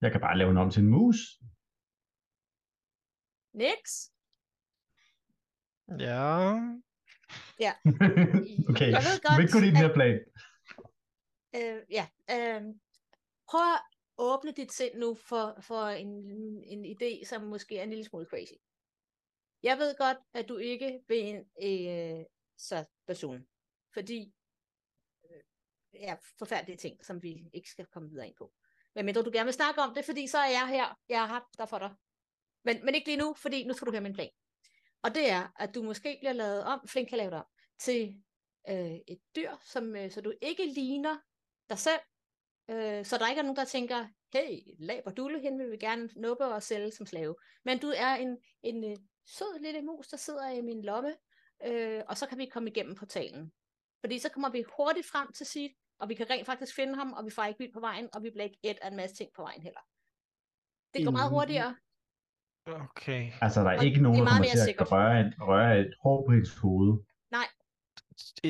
Speaker 5: Jeg kan bare lave den om til en mus. (laughs)
Speaker 4: Nix?
Speaker 2: Ja,
Speaker 5: okay,
Speaker 4: Jeg ved
Speaker 5: du vil
Speaker 4: godt,
Speaker 5: ikke kunne lide den
Speaker 4: at-
Speaker 5: her plan.
Speaker 4: Øh, ja. Øh, prøv at åbne dit sind nu for, for en, en idé, som måske er en lille smule crazy. Jeg ved godt, at du ikke vil en øh, så person, fordi øh, ja, forfærdelige ting, som vi ikke skal komme videre ind på. Men mindre du gerne vil snakke om det, fordi så er jeg her. Jeg har der for dig. Men, men ikke lige nu, fordi nu skal du høre min plan. Og det er, at du måske bliver lavet om, Flink kan lave det om, til øh, et dyr, som, øh, så du ikke ligner dig selv, øh, så der ikke er nogen, der tænker, hey, laberdulle, hende vil vi gerne nuppe og sælge som slave. Men du er en, en øh, sød lille mus, der sidder i min lomme, øh, og så kan vi komme igennem portalen. Fordi så kommer vi hurtigt frem til sit, og vi kan rent faktisk finde ham, og vi får ikke vildt på vejen, og vi bliver ikke et af en masse ting på vejen heller. Det går meget
Speaker 2: Mm.
Speaker 4: hurtigere.
Speaker 2: okay.
Speaker 5: Altså, der er
Speaker 4: Og
Speaker 5: ikke nogen,
Speaker 4: det
Speaker 5: der
Speaker 4: er meget
Speaker 5: kommer
Speaker 4: mere
Speaker 5: til at
Speaker 4: sikkert.
Speaker 5: røre, en, røre et hår på hendes hoved.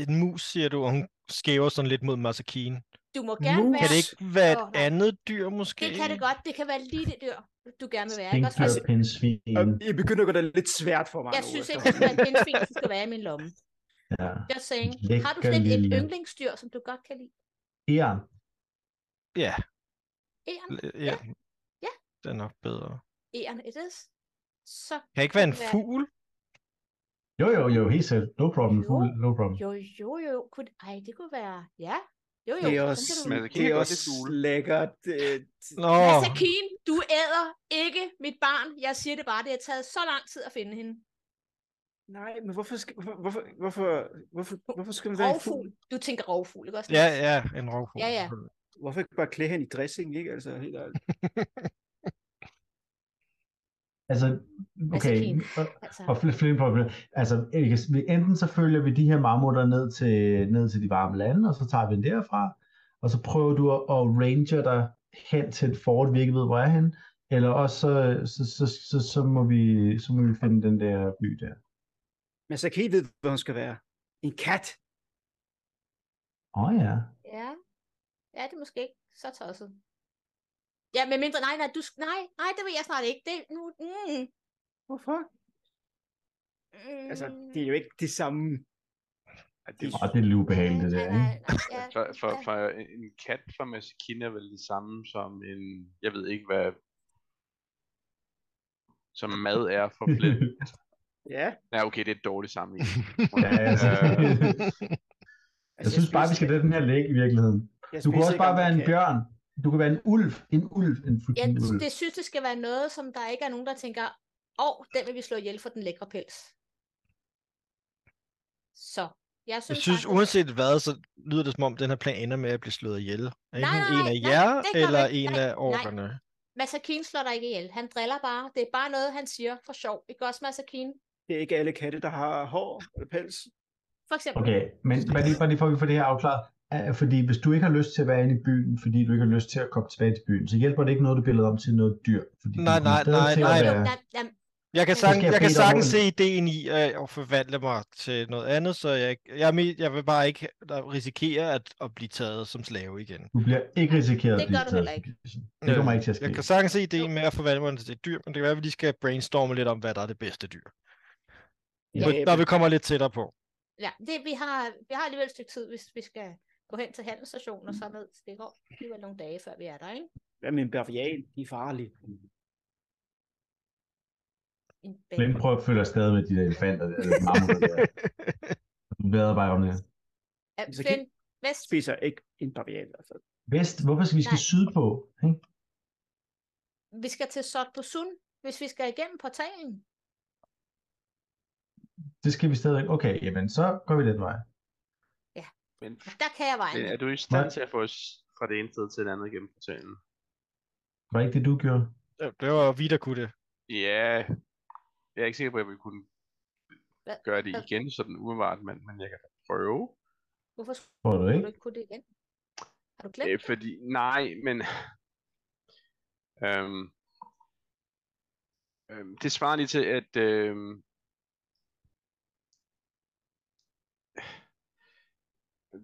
Speaker 2: En mus, siger du, og hun skæver sådan lidt mod Masakine.
Speaker 4: Du må gerne
Speaker 5: Nu
Speaker 4: være...
Speaker 2: Kan det ikke være et
Speaker 4: Åh, nej.
Speaker 2: andet dyr, måske?
Speaker 4: det kan det godt. Det kan være lige det dyr, du gerne vil være. Ikke? Også
Speaker 5: Stinkflørt
Speaker 4: hvis,
Speaker 3: Altså-
Speaker 5: på hendes svin.
Speaker 3: Jeg begynder at gå det lidt svært for mig
Speaker 4: jeg
Speaker 3: nu
Speaker 4: synes ikke, at
Speaker 3: efterhånden.
Speaker 4: det er en pindsvin, som skal være i min lomme.
Speaker 5: Ja.
Speaker 4: Just saying.
Speaker 5: Lækker
Speaker 4: Har du slet et
Speaker 5: lille.
Speaker 4: yndlingsdyr, som du godt kan lide?
Speaker 5: Eon.
Speaker 2: Ja,
Speaker 4: Æren.
Speaker 2: l- ja.
Speaker 4: Ja.
Speaker 2: Det er nok bedre.
Speaker 4: Æren it is. Så
Speaker 2: Kan det ikke være en
Speaker 4: Hvad?
Speaker 2: fugl?
Speaker 5: Jo, jo, jo, helt selv. No problem,
Speaker 4: Jo.
Speaker 5: fugl. No problem.
Speaker 4: jo, jo, jo. Kunne, ej, det kunne være... Ja. Jo, jo.
Speaker 3: Det er
Speaker 4: sådan
Speaker 3: også,
Speaker 4: kan
Speaker 6: Men
Speaker 4: du-
Speaker 6: altså,
Speaker 3: det
Speaker 6: kigger
Speaker 3: er
Speaker 6: godt
Speaker 3: også
Speaker 6: lidt fugle.
Speaker 3: lækkert. Øh, t-
Speaker 2: Nå,
Speaker 4: Masakine, du æder ikke mit barn. Jeg siger det bare, det har taget så lang tid at finde hende.
Speaker 3: nej, men hvorfor, skal, hvorfor, hvorfor, hvorfor, hvorfor, hvorfor skal man være en fugl?
Speaker 4: Rovfugl. Du tænker rovfugl, ikke også?
Speaker 2: ja,
Speaker 4: Niels?
Speaker 2: ja, en rovfugl.
Speaker 4: Ja, ja.
Speaker 2: selvfølgelig.
Speaker 3: Hvorfor ikke bare klæde hende i dressing, ikke? Altså, helt ærligt.
Speaker 5: Altså, okay.
Speaker 4: Masakine.
Speaker 5: og-
Speaker 4: Altså,
Speaker 5: Og fl- flint problem. Altså, vi kan- vi- enten så følger vi de her marmutter ned til, ned til de varme lande, og så tager vi den derfra, og så prøver du at, at ranger dig hen til et fort, vi ikke ved, hvor er han, eller også så, så, så, så, så, må, vi, så må vi finde den der by der.
Speaker 3: Men så kan I vide, hvad hun skal være. En kat.
Speaker 5: Åh oh, ja.
Speaker 4: ja. Ja, det er måske ikke så tosset. Ja, men mindre, nej, nej, du, sk- nej, nej, det vil jeg snart ikke. Det, nu, mm,
Speaker 3: Hvorfor?
Speaker 4: mm, Mm,
Speaker 3: Altså, det er jo ikke det samme.
Speaker 6: Ja, det,
Speaker 5: Og det er lidt ubehageligt, det der,
Speaker 4: Nej, nej,
Speaker 5: ikke?
Speaker 4: nej, ja,
Speaker 6: (laughs) for, for,
Speaker 4: ja.
Speaker 6: for, en- en kat fra Masakine er vel det samme som en, jeg ved ikke hvad, som mad er (laughs) for flint.
Speaker 3: Ja.
Speaker 6: Nej, okay, det er et dårligt sammenligning.
Speaker 5: (laughs)
Speaker 6: (laughs)
Speaker 5: ja, (laughs)
Speaker 4: (laughs)
Speaker 5: altså,
Speaker 6: Øh,
Speaker 3: Altså,
Speaker 5: jeg synes bare, vi skal lade den her ligge i virkeligheden.
Speaker 3: jeg
Speaker 2: Altså,
Speaker 5: Du kan
Speaker 3: spiser
Speaker 5: også
Speaker 3: ikke
Speaker 5: bare
Speaker 3: andre
Speaker 5: være en
Speaker 3: katte.
Speaker 5: bjørn. Du kan være en ulv. En ulv. En
Speaker 4: Jeg
Speaker 5: fucking ulv.
Speaker 4: det synes, det skal være noget, som der ikke er nogen, der tænker, åh, oh, den vil vi slå ihjel for den lækre pels. Så, jeg
Speaker 2: Jeg
Speaker 4: synes,
Speaker 2: synes,
Speaker 4: faktisk-
Speaker 2: uanset hvad, så lyder det som om, den her plan ender med at blive slået ihjel. Er
Speaker 4: Nej,
Speaker 2: enten
Speaker 4: nej,
Speaker 2: en af
Speaker 4: nej,
Speaker 2: jer,
Speaker 4: det gør vi
Speaker 2: eller
Speaker 4: ikke.
Speaker 2: en
Speaker 4: Nej,
Speaker 2: af
Speaker 4: nej.
Speaker 2: orkerne.
Speaker 4: Masakine slår dig ikke ihjel. Han driller bare. Det er bare noget, han siger for sjov. Ikke også, Masakine?
Speaker 3: Det er ikke alle katte, der har hår eller pels.
Speaker 4: For eksempel.
Speaker 5: Okay, men bare lige, bare lige for at vi får det her afklaret. Er- Fordi hvis du ikke har lyst til at være inde i byen, fordi du ikke har lyst til at komme tilbage til byen, så hjælper det ikke noget, du bliver lavet om til noget dyr. Fordi du
Speaker 2: Nej,
Speaker 5: kommer
Speaker 2: nej,
Speaker 5: stadig
Speaker 2: nej,
Speaker 5: til at
Speaker 2: nej.
Speaker 4: Jo,
Speaker 5: være-
Speaker 4: nej, nej,
Speaker 2: Jeg kan,
Speaker 4: Så
Speaker 2: sang,
Speaker 5: skal
Speaker 2: jeg kan
Speaker 5: Peter
Speaker 2: sagtens se
Speaker 5: Horn.
Speaker 2: ideen i øh, at at forvandle mig til noget andet, så jeg, ikke- jeg, er me- jeg vil bare ikke risikere at, at blive taget som slave igen.
Speaker 5: Du bliver ikke risikeret.
Speaker 4: Det
Speaker 5: at blive
Speaker 4: gør du
Speaker 5: taget
Speaker 4: heller ikke.
Speaker 5: som gidsel. Det kommer ikke til at ske.
Speaker 2: Jeg kan sagtens se ideen med at forvandle mig til et dyr, men det kan være, at vi lige skal brainstorme lidt om, hvad der er det bedste dyr.
Speaker 3: Ja,
Speaker 2: Men Når vi kommer lidt tættere på.
Speaker 4: Ja, det, vi, har, vi har alligevel et stykke tid, hvis vi skal gå hen til handelsstationen og så ned. Så Det går alligevel nogle dage, før vi er der, ikke?
Speaker 3: Hvad med en bavian? De er farlige.
Speaker 4: En
Speaker 5: Hvem
Speaker 4: bane.
Speaker 5: prøver at følge afsted med de der elefanter? Der, eller mammutter der?
Speaker 2: (laughs)
Speaker 5: Hvad bare om det?
Speaker 4: Ja,
Speaker 3: Så
Speaker 4: Flynn, vest.
Speaker 3: Spiser ikke en bavian. Altså.
Speaker 5: Vest, hvorfor skal vi skal
Speaker 4: Nej.
Speaker 5: sydpå? Ikke?
Speaker 4: Vi skal til Sotbosun, hvis vi skal igennem portalen.
Speaker 5: Det skal vi stadigvæk. Okay, jamen så går vi den vej.
Speaker 6: Men,
Speaker 4: Der kan jeg
Speaker 6: men er
Speaker 4: vejen.
Speaker 6: du i stand
Speaker 5: Nej.
Speaker 6: til at få os fra det ene sted til det andet gennem portalen?
Speaker 5: Var det ikke det, du gjorde?
Speaker 2: Ja, Det var vi, der kunne det.
Speaker 6: Ja, jeg er ikke sikker på, at jeg vil kunne
Speaker 4: Hvad-
Speaker 6: gøre det
Speaker 4: hvad-
Speaker 6: igen sådan umiddelbart, men, men jeg kan prøve.
Speaker 4: Hvorfor skulle
Speaker 5: Tror du
Speaker 4: du
Speaker 5: ikke?
Speaker 4: ikke kunne det igen? Har du
Speaker 6: Øh,
Speaker 4: glemt? det?
Speaker 6: fordi, nej, men... (sighs) Øhm, øhm, det svarer lige til, at... Øhm, (sighs)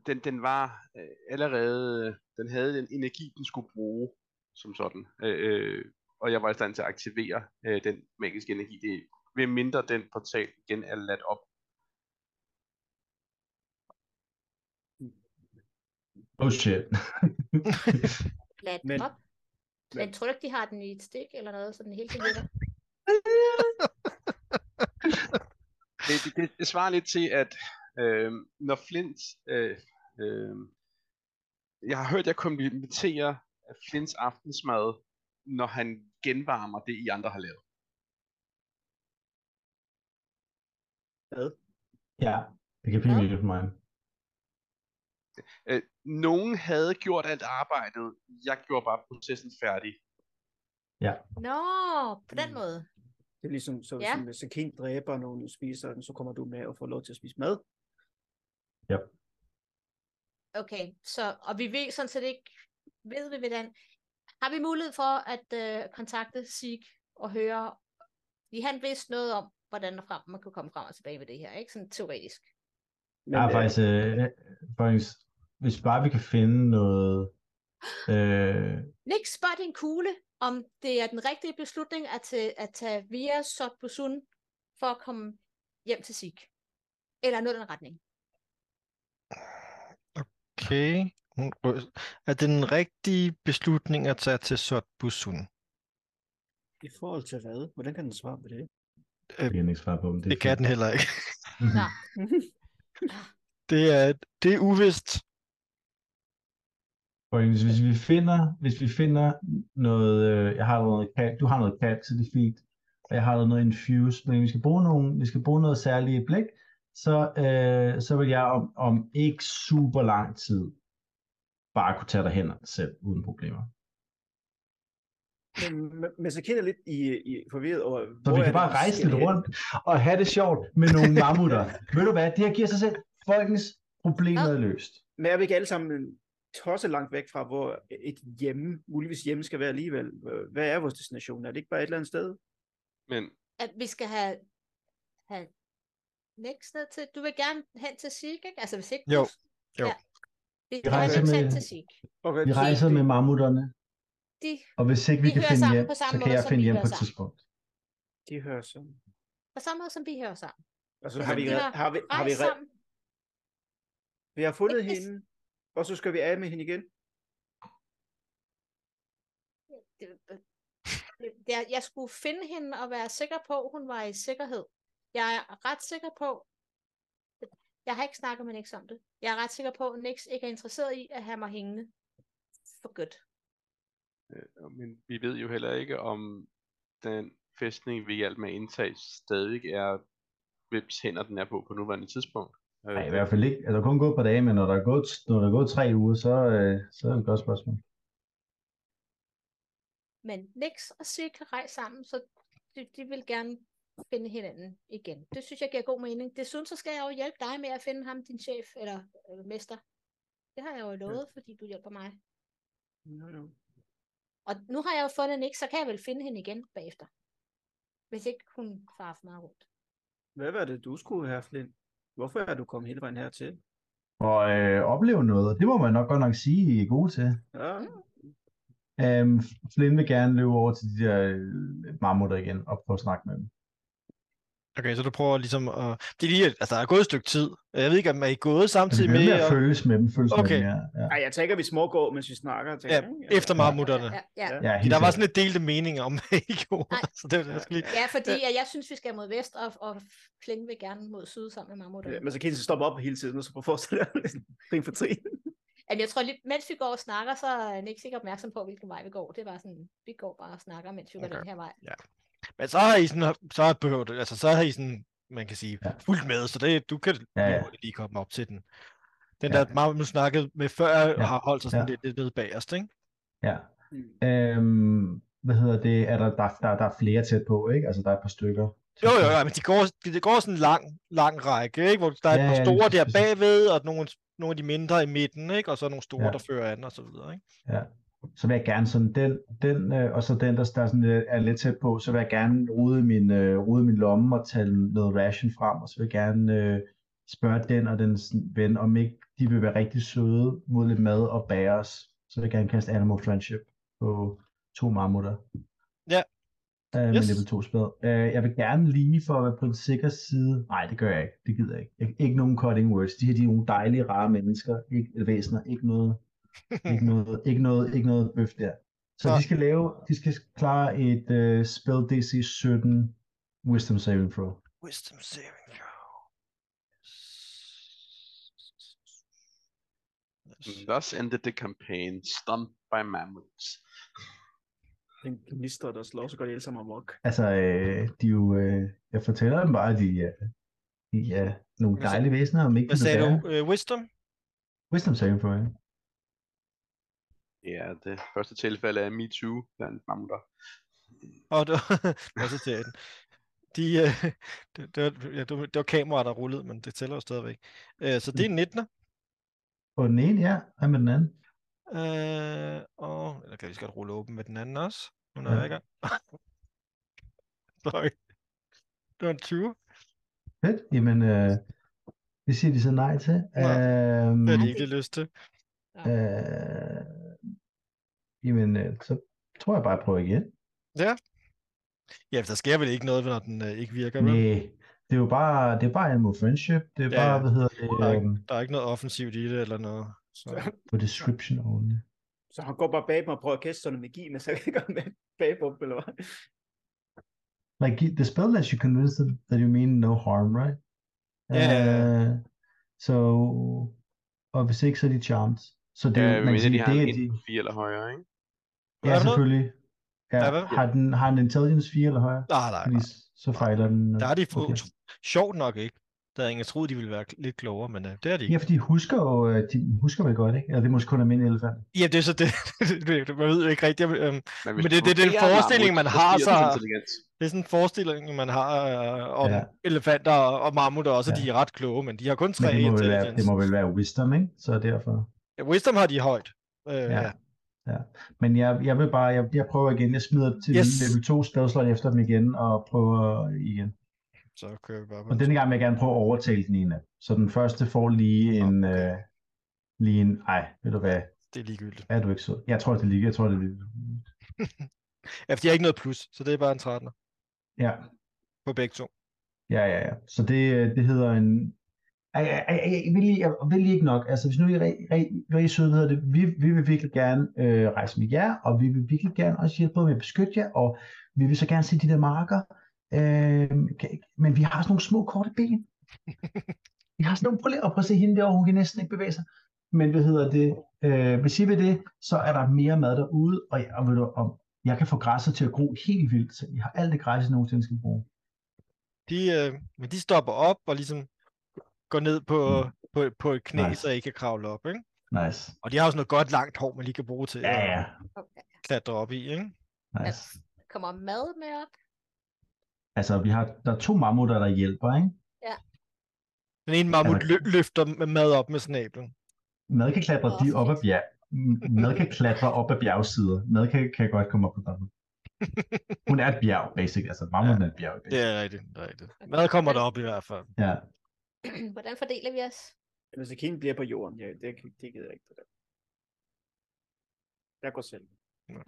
Speaker 6: den, den var øh, allerede... Den havde den energi, den skulle bruge, som sådan. Øh, øh, og jeg var i stand til at aktivere øh, den magiske energi. Det, ved mindre den portal igen er ladt op.
Speaker 5: Oh shit.
Speaker 4: Lad den
Speaker 3: Men-
Speaker 4: op. Men tror du ikke, de har den i et stik eller noget, så den hele tiden ligger?
Speaker 6: det, det, det, det svarer lidt til, at øh, når Flint... Øh, øh, jeg har hørt, jeg komplimenterer Flints aftensmad, når han genvarmer det, I andre har lavet.
Speaker 3: Hvad?
Speaker 5: ja, det kan blive
Speaker 4: Hvad?
Speaker 5: vildt for mig.
Speaker 6: Øh, nogen havde gjort alt arbejdet, jeg gjorde bare processen færdig.
Speaker 4: Nå, på den
Speaker 3: Mm.
Speaker 4: måde.
Speaker 3: Det er ligesom, så,
Speaker 4: Ja.
Speaker 3: ja. hvis en kind dræber nogen og spiser den, så kommer du med og får lov til at spise mad.
Speaker 4: Okay, så, og vi ved sådan set ikke, ved vi hvordan, har vi mulighed for at øh, kontakte Sig og høre, fordi han vidste noget om, hvordan og frem, man kunne komme frem og tilbage med det her, ikke? Sådan teoretisk.
Speaker 3: Men,
Speaker 5: Jeg har
Speaker 3: øh,
Speaker 5: faktisk, øh, faktisk, hvis bare vi kan finde noget... Øh,
Speaker 4: Nick spot en kugle, om det er den rigtige beslutning at, tage, at tage via Sotbusun for at komme hjem til Sig. Eller noget i den retning.
Speaker 2: Okay. Hun ryst- Er det den rigtige beslutning at tage til Sotbusun?
Speaker 3: øh, I forhold til hvad? Hvordan kan den svare på det?
Speaker 5: det kan jeg ikke svare på, om det, Mhm.
Speaker 2: Det kan den heller ikke. (laughs)
Speaker 4: Nå.
Speaker 2: Det er, det er uvist.
Speaker 5: Pointen, hvis vi finder, hvis vi finder noget, øh, jeg har allerede noget kalk, du har noget kalk, så det er fint, og jeg har allerede noget infused, men vi skal bruge, nogle, vi skal bruge noget særligt blik, så, øh, så vil jeg om, om ikke super lang tid bare kunne tage dig hen selv uden problemer.
Speaker 3: Men, men- men så kender jeg lidt i, i forvirret over,
Speaker 5: Så
Speaker 3: hvor
Speaker 5: vi
Speaker 3: er
Speaker 5: kan
Speaker 3: det,
Speaker 5: bare rejse
Speaker 3: skal
Speaker 5: lidt
Speaker 3: hen?
Speaker 5: rundt og have det sjovt med nogle mammutter. Ved du hvad, det her giver sig selv. Folkens problemer er løst.
Speaker 3: Men er vi ikke alle sammen tosset langt væk fra, hvor et hjemme, muligvis hjemme skal være alligevel? Hvad er vores destination? Er det ikke bare et eller andet sted?
Speaker 6: Men
Speaker 4: At vi skal have, have Nick ned til, du vil gerne hen til Sig, ikke? Altså hvis ikke
Speaker 2: Jo,
Speaker 4: du
Speaker 2: jo.
Speaker 4: Vi
Speaker 5: Vi
Speaker 4: rejser
Speaker 5: rejser
Speaker 4: med...
Speaker 5: med-
Speaker 4: hen til Sig.
Speaker 3: Okay,
Speaker 5: Vi rejser med mammutterne,
Speaker 4: De,
Speaker 5: og hvis ikke vi,
Speaker 4: Vi
Speaker 5: kan
Speaker 4: hører
Speaker 5: finde
Speaker 4: sammen
Speaker 5: hjem,
Speaker 4: på samme
Speaker 5: så kan
Speaker 4: måde,
Speaker 5: jeg
Speaker 4: som
Speaker 5: finde
Speaker 4: vi
Speaker 5: hjem
Speaker 4: hører
Speaker 5: på et
Speaker 4: sammen.
Speaker 5: tidspunkt.
Speaker 3: de hører sådan.
Speaker 4: på samme måde som vi hører sammen.
Speaker 3: Altså,
Speaker 4: Altså,
Speaker 3: har vi,
Speaker 4: de har
Speaker 3: re- har vi, har vi,
Speaker 4: Rejs
Speaker 3: re-
Speaker 4: sammen.
Speaker 3: vi har fundet
Speaker 4: Ikke hvis-
Speaker 3: hende, og så skal vi af med hende igen.
Speaker 4: Det, det, jeg, jeg skulle finde hende og være sikker på, at hun var i sikkerhed. Jeg er ret sikker på, jeg har ikke snakket med Nix om det. Jeg er ret sikker på, at Nix ikke er interesseret i at have mig hængende. For godt.
Speaker 6: Øh, Men vi ved jo heller ikke, om den fæstning, vi hjalp med at indtage, stadig er, hvims hænder den er på på nuværende tidspunkt. Øh,
Speaker 5: Nej, i hvert fald ikke. Altså kun gået et par dage, men når der er gået, når der er gået tre uger, så, øh, så er det et godt spørgsmål.
Speaker 4: Men Nix og Sig kan rejse sammen, så de, de vil gerne finde hinanden igen. Det synes jeg giver god mening. Desuden så skal jeg jo hjælpe dig med at finde ham, din chef eller øh, mester. Det har jeg jo lovet, fordi du hjælper mig.
Speaker 3: No, no.
Speaker 4: Og nu har jeg jo fundet Nick, så kan jeg vel finde hende igen bagefter. hvis ikke hun farer for meget rundt.
Speaker 3: Hvad var det, du skulle have, Flint? Hvorfor er du kommet hele vejen hertil?
Speaker 5: Og øh, opleve noget, og det må man nok godt nok sige, I er gode til.
Speaker 3: Ja,
Speaker 5: Øhm, Flynn vil gerne løbe over til de der øh, mammutter igen og prøve at snakke med dem.
Speaker 2: Okay, så du prøver ligesom at... Det er lige, altså, der er gået et stykke tid. Jeg ved ikke, om er I gået samtidig
Speaker 5: Samtidig Altså, med,
Speaker 2: med...
Speaker 5: at
Speaker 2: Og...
Speaker 5: følges med dem, følges
Speaker 2: Okay.
Speaker 5: med dem, ja. ja.
Speaker 3: Ej, jeg tænker, vi smågår, mens vi snakker. Tænker,
Speaker 2: Ja,
Speaker 3: jeg.
Speaker 2: efter marmutterne.
Speaker 4: Ja, ja, ja.
Speaker 5: ja
Speaker 2: Fordi
Speaker 5: helt
Speaker 2: Der var
Speaker 5: sikkert.
Speaker 2: sådan lidt delte meninger om, (laughs) hvad I gjorde.
Speaker 4: Nej.
Speaker 2: Så det var det, jeg skulle lige...
Speaker 4: ja fordi at jeg synes, vi skal mod vest, og, og Flynn vil gerne mod syd sammen med mammutterne.
Speaker 3: Ja, Men så kan I stoppe op hele tiden, og så prøve at forestille jer trin for trin.
Speaker 4: Jamen, jeg tror lige, mens vi går og snakker, så er Nick sikkert opmærksom på, hvilken vej vi går. Det var sådan, vi går bare og snakker, mens vi går
Speaker 2: Okay.
Speaker 4: den her vej.
Speaker 2: Men så har I sådan... Så har, behøvet, altså, så har I sådan, man kan sige,
Speaker 5: Ja.
Speaker 2: fuldt med, så det, du kan
Speaker 5: Ja, ja.
Speaker 2: lige komme op til den. Den
Speaker 5: Ja.
Speaker 2: der, Marvel, du snakkede med før, har holdt sig sådan
Speaker 5: ja.
Speaker 2: lidt, lidt ved bagerst, ikke?
Speaker 5: Ja.
Speaker 2: Mm.
Speaker 5: Øhm, hvad hedder det? Er der, der, der, der er flere tæt på, ikke? Altså, der er et par stykker.
Speaker 2: Jo, jo, jo, men de går, de, de går sådan en lang, lang række, ikke? Hvor der er
Speaker 5: Ja,
Speaker 2: et
Speaker 5: ja,
Speaker 2: par
Speaker 5: lige
Speaker 2: store der
Speaker 5: præcis.
Speaker 2: bagved, og nogle, nogle af de mindre i midten, ikke? Og så nogle store,
Speaker 5: Ja.
Speaker 2: der fører an, og så videre, ikke?
Speaker 5: Så vil jeg gerne sådan den, den øh, og så den, der, der sådan, øh, er lidt tæt på, så vil jeg gerne rode min, øh, rode min lomme og tage noget ration frem, og så vil jeg gerne øh, spørge den og dens ven, om ikke de vil være rigtig søde mod lidt mad og bære os. Så vil jeg gerne kaste Animal Friendship på to marmutter.
Speaker 2: Ja.
Speaker 5: Øh, yes.
Speaker 2: Yes.
Speaker 5: Med level 2 spæd. Øh, jeg vil gerne lige for at være på den sikre side. Nej, det gør jeg ikke. Det gider jeg ikke. Jeg, ikke nogen cutting words. De her de er nogle dejlige, rare mennesker. Ikke, eller væsener. Ikke noget, ikke
Speaker 2: Hmm.
Speaker 5: noget, ikke noget, ikke noget bøf der. Så
Speaker 2: Nej.
Speaker 5: de skal lave, de skal klare et uh, spell DC 17 Wisdom Saving Throw.
Speaker 2: Wisdom saving throw.
Speaker 6: Øh, Thus ended the campaign, stumped by mammoths.
Speaker 3: Den gnister, der slår, så går de alle sammen amok.
Speaker 5: Altså, øh, de er jo, øh, jeg fortæller dem bare, at de, øh, de er nogle
Speaker 2: Hvad sa-
Speaker 5: dejlige væsener, om ikke
Speaker 2: Hvad
Speaker 5: de vil
Speaker 2: sagde
Speaker 5: bære.
Speaker 2: du? Uh, wisdom?
Speaker 5: Wisdom Saving Throw, ja.
Speaker 6: Ja, det første tilfælde er Me Too blandt mammutter.
Speaker 2: Og det var, (laughs) også til den. De, uh, (laughs) det, det, var, ja, det, var, det var kameraer, der rullede, men det tæller jo stadigvæk. Uh, så det
Speaker 5: Mm.
Speaker 2: er 19.
Speaker 5: Og den ene, ja, hvad med den anden?
Speaker 2: Øh, og... Eller kan vi skal godt rulle åben med den anden også? Nu når jeg
Speaker 5: Ja.
Speaker 2: (laughs) ikke Sorry. Det var en 20.
Speaker 5: Fedt, jamen, øh, det siger de så nej til.
Speaker 2: Nej,
Speaker 5: Øhm,
Speaker 2: Det har de ikke lige lyst til.
Speaker 5: øh, jamen, øh, så tror jeg bare, at jeg prøver igen.
Speaker 2: Ja, for der sker vel ikke noget, når den øh, ikke virker, vel?
Speaker 5: Nej, det er jo bare, det er bare Animal Friendship, det er
Speaker 2: Ja,
Speaker 5: bare,
Speaker 2: ja.
Speaker 5: hvad hedder det,
Speaker 2: Der er, ikke,
Speaker 5: øhm,
Speaker 2: der er ikke noget offensivt i det eller noget. Så.
Speaker 5: på description only.
Speaker 3: Så han går bare bag dem og prøver at kaste sådan en magi, men så kan han gå med bag på dem, eller hvad?
Speaker 5: Like, you- the spell lets you convince them that you mean no harm, right?
Speaker 2: Ja, ja, ja.
Speaker 5: Uh, so, og hvis ikke, så er de charmed. Så det,
Speaker 6: Ja,
Speaker 5: er jo- man
Speaker 6: men
Speaker 5: kan
Speaker 6: mindre de
Speaker 5: sige,
Speaker 6: har
Speaker 5: det
Speaker 6: en
Speaker 5: er de,
Speaker 6: ind- fire eller højere, ikke?
Speaker 2: Hvad
Speaker 5: ja,
Speaker 2: er det?
Speaker 5: selvfølgelig. Ja,
Speaker 2: Ja, hvad?
Speaker 5: har, den, har den intelligence 4 eller højere?
Speaker 2: Nej, nej,
Speaker 5: Fordi
Speaker 2: nej.
Speaker 5: s- så fejler den. øh,
Speaker 2: Der er de for,
Speaker 5: okay.
Speaker 2: sjovt nok ikke. Der havde ingen troet, de ville være k- lidt klogere, men øh, det er de
Speaker 5: Ja,
Speaker 2: ikke.
Speaker 5: fordi de husker jo, øh, de husker vel godt, ikke? Eller det er måske kun almindelige elefanter.
Speaker 2: Ja, det er så det. (laughs) det- man ved jo ikke rigtigt. øhm,
Speaker 6: hvis
Speaker 2: Men
Speaker 6: du
Speaker 2: det- det er den
Speaker 6: vurderer en
Speaker 2: forestilling,
Speaker 6: mammut
Speaker 2: man
Speaker 6: på
Speaker 2: har,
Speaker 6: 80
Speaker 2: så-
Speaker 6: intelligens.
Speaker 2: Det er sådan en forestilling, man har øh, om
Speaker 5: Ja.
Speaker 2: ja. elefanter og og mammutter også, at
Speaker 5: Ja.
Speaker 2: de er ret kloge, men de har kun
Speaker 5: Men
Speaker 2: tre
Speaker 5: det må, vel være,
Speaker 2: intelligence.
Speaker 5: det må vel være wisdom, ikke? Så derfor.
Speaker 2: Ja, Wisdom har de højt. Øh, ja.
Speaker 5: Ja. ja. Men jeg, jeg vil bare, jeg, jeg prøver igen. Jeg smider til yes.
Speaker 2: Yes.
Speaker 5: level 2 spelslot efter dem igen, og prøver igen.
Speaker 2: Så kører vi bare på
Speaker 5: Og denne gang vil jeg gerne prøve at overtale den ene. af dem. Så den første får lige en,
Speaker 2: Okay.
Speaker 5: okay. øh, lige en, ej, ved du hvad,
Speaker 2: Det er ligegyldigt.
Speaker 5: er du ikke sød? Jeg tror, det er lige, jeg tror, det er lige.
Speaker 2: Ja, for de har ikke noget plus, så det er bare en 13'er
Speaker 5: Ja,
Speaker 2: på begge to.
Speaker 5: ja, ja, ja. Så det, øh, det hedder en, ej, ej, ej, ej, vil I, jeg vil I ikke nok? Altså, hvis nu I er rigtig- rigtig- rigtig søde, hvad hedder det, vi, vi vil virkelig gerne øh, rejse med jer, og vi vil virkelig gerne også hjælpe med at beskytte jer, og vi vil så gerne se de der marker, øh, kan- men vi har sådan nogle små korte ben. Vi har sådan nogle, prøv lige at prøve at se hende derovre, hun kan næsten ikke bevæge sig. Men hvad hedder det? Øh, hvis I vil det, så er der mere mad derude, og jeg, og ved du, om, jeg kan få græsset til at gro helt vildt, så I har alt det græs, I nogensinde skal bruge.
Speaker 2: De, øh, men de stopper op og ligesom går ned på, mm. på, på et knæ,
Speaker 5: Nice.
Speaker 2: så jeg ikke kan kravle op, ikke?
Speaker 5: Nice.
Speaker 2: Og de har også noget godt langt hår, man lige kan bruge til
Speaker 5: Ja, ja.
Speaker 4: Okay.
Speaker 2: at klatre op i, ikke?
Speaker 5: Nice.
Speaker 4: Kommer mad med op? (clears throat)
Speaker 5: Altså, vi har, der er to mammutter, der hjælper, ikke?
Speaker 2: Den ene mammut
Speaker 5: der-
Speaker 2: lø- løfter med mad op med snablen.
Speaker 5: Mad kan klatre
Speaker 4: Åh,
Speaker 5: de op ad
Speaker 4: fedt.
Speaker 5: bjerg. M- Mad kan klatre op ad bjergsider. Mad kan, kan godt komme op på toppen. Hun er et bjerg, basic. Altså, Mammoen er et bjerg, basic.
Speaker 2: Det er rigtigt, det er rigtigt. Hvad kommer der op i hvert fald?
Speaker 5: Ja.
Speaker 4: Hvordan fordeler vi os?
Speaker 3: Masakine bliver på jorden. Ja, det, det gider jeg ikke på det. Jeg går selv.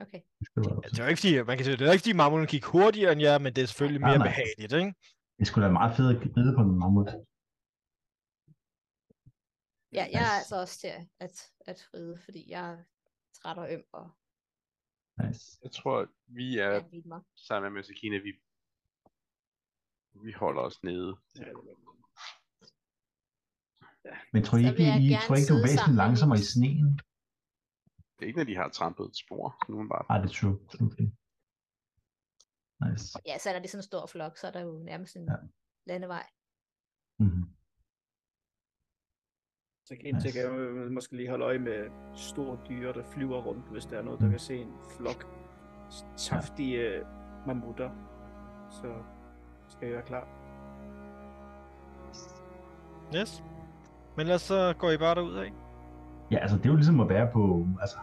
Speaker 4: Okay.
Speaker 5: det skulle være-
Speaker 2: Ja, Altså, det er jo ikke fordi, man kan sige, det er jo ikke fordi, mammon gik hurtigere end jer, men det er selvfølgelig
Speaker 5: Nej,
Speaker 2: mere
Speaker 5: nej.
Speaker 2: behageligt, ikke?
Speaker 5: Det skulle da være meget fedt at ride på en mammut.
Speaker 4: Ja, jeg er
Speaker 5: Nice.
Speaker 4: altså også til at, at ride, fordi jeg er træt og øm og
Speaker 5: Nice.
Speaker 6: Jeg tror, vi er
Speaker 4: kan lide mig.
Speaker 6: sammen med Masakina, vi, vi holder os nede.
Speaker 3: Ja, det er godt.
Speaker 5: Men tror I
Speaker 4: Så
Speaker 5: ikke,
Speaker 4: vil jeg
Speaker 5: I,
Speaker 4: gerne
Speaker 5: tror I ikke, du
Speaker 4: sidde
Speaker 5: er
Speaker 4: sammen
Speaker 5: væsentligt
Speaker 4: med
Speaker 5: langsommere i
Speaker 4: min-
Speaker 5: sneen?
Speaker 6: Det er ikke, når de har trampet et spor. Nu bare.
Speaker 5: Ah, det er true. Okay. Nice.
Speaker 4: Ja, så er der lige sådan en stor flok, så er der jo nærmest en
Speaker 5: Ja.
Speaker 4: landevej.
Speaker 5: Mm-hmm.
Speaker 3: Så kan jeg
Speaker 5: Nice.
Speaker 3: tænke, jeg måske lige holde øje med store dyr, der flyver rundt, hvis der er noget, der kan se en flok s- saftige ja. mammutter. Så skal jeg være klar.
Speaker 2: Yes. Men ellers så går I bare derud af.
Speaker 5: Ja, altså det er jo ligesom at være på altså,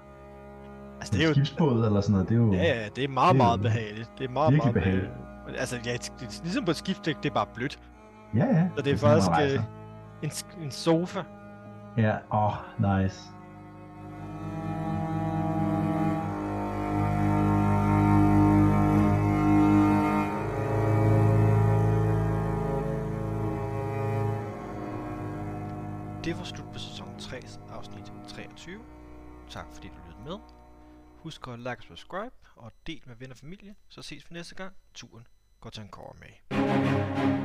Speaker 2: Altså,
Speaker 5: det
Speaker 2: det er jo,
Speaker 5: skibsbåd eller sådan noget. Det er jo...
Speaker 2: ja, ja, det er meget,
Speaker 5: Det er
Speaker 2: meget
Speaker 5: jo
Speaker 2: behageligt. Det er meget,
Speaker 5: virkelig
Speaker 2: meget behageligt. Altså, ja, det er ligesom på et skibsdæk, det er bare blødt.
Speaker 5: ja, ja.
Speaker 2: Så det er
Speaker 5: sådan, man
Speaker 2: faktisk
Speaker 5: rejser.
Speaker 2: øh, en, sk- en sofa.
Speaker 5: Ja, åh, oh, nice.
Speaker 7: Det var slut på sæson 3, afsnit 23. Tak fordi du lyttede med. Husk at like og subscribe, og del med venner og familie, så ses vi næste gang. Turen går til en kåre med.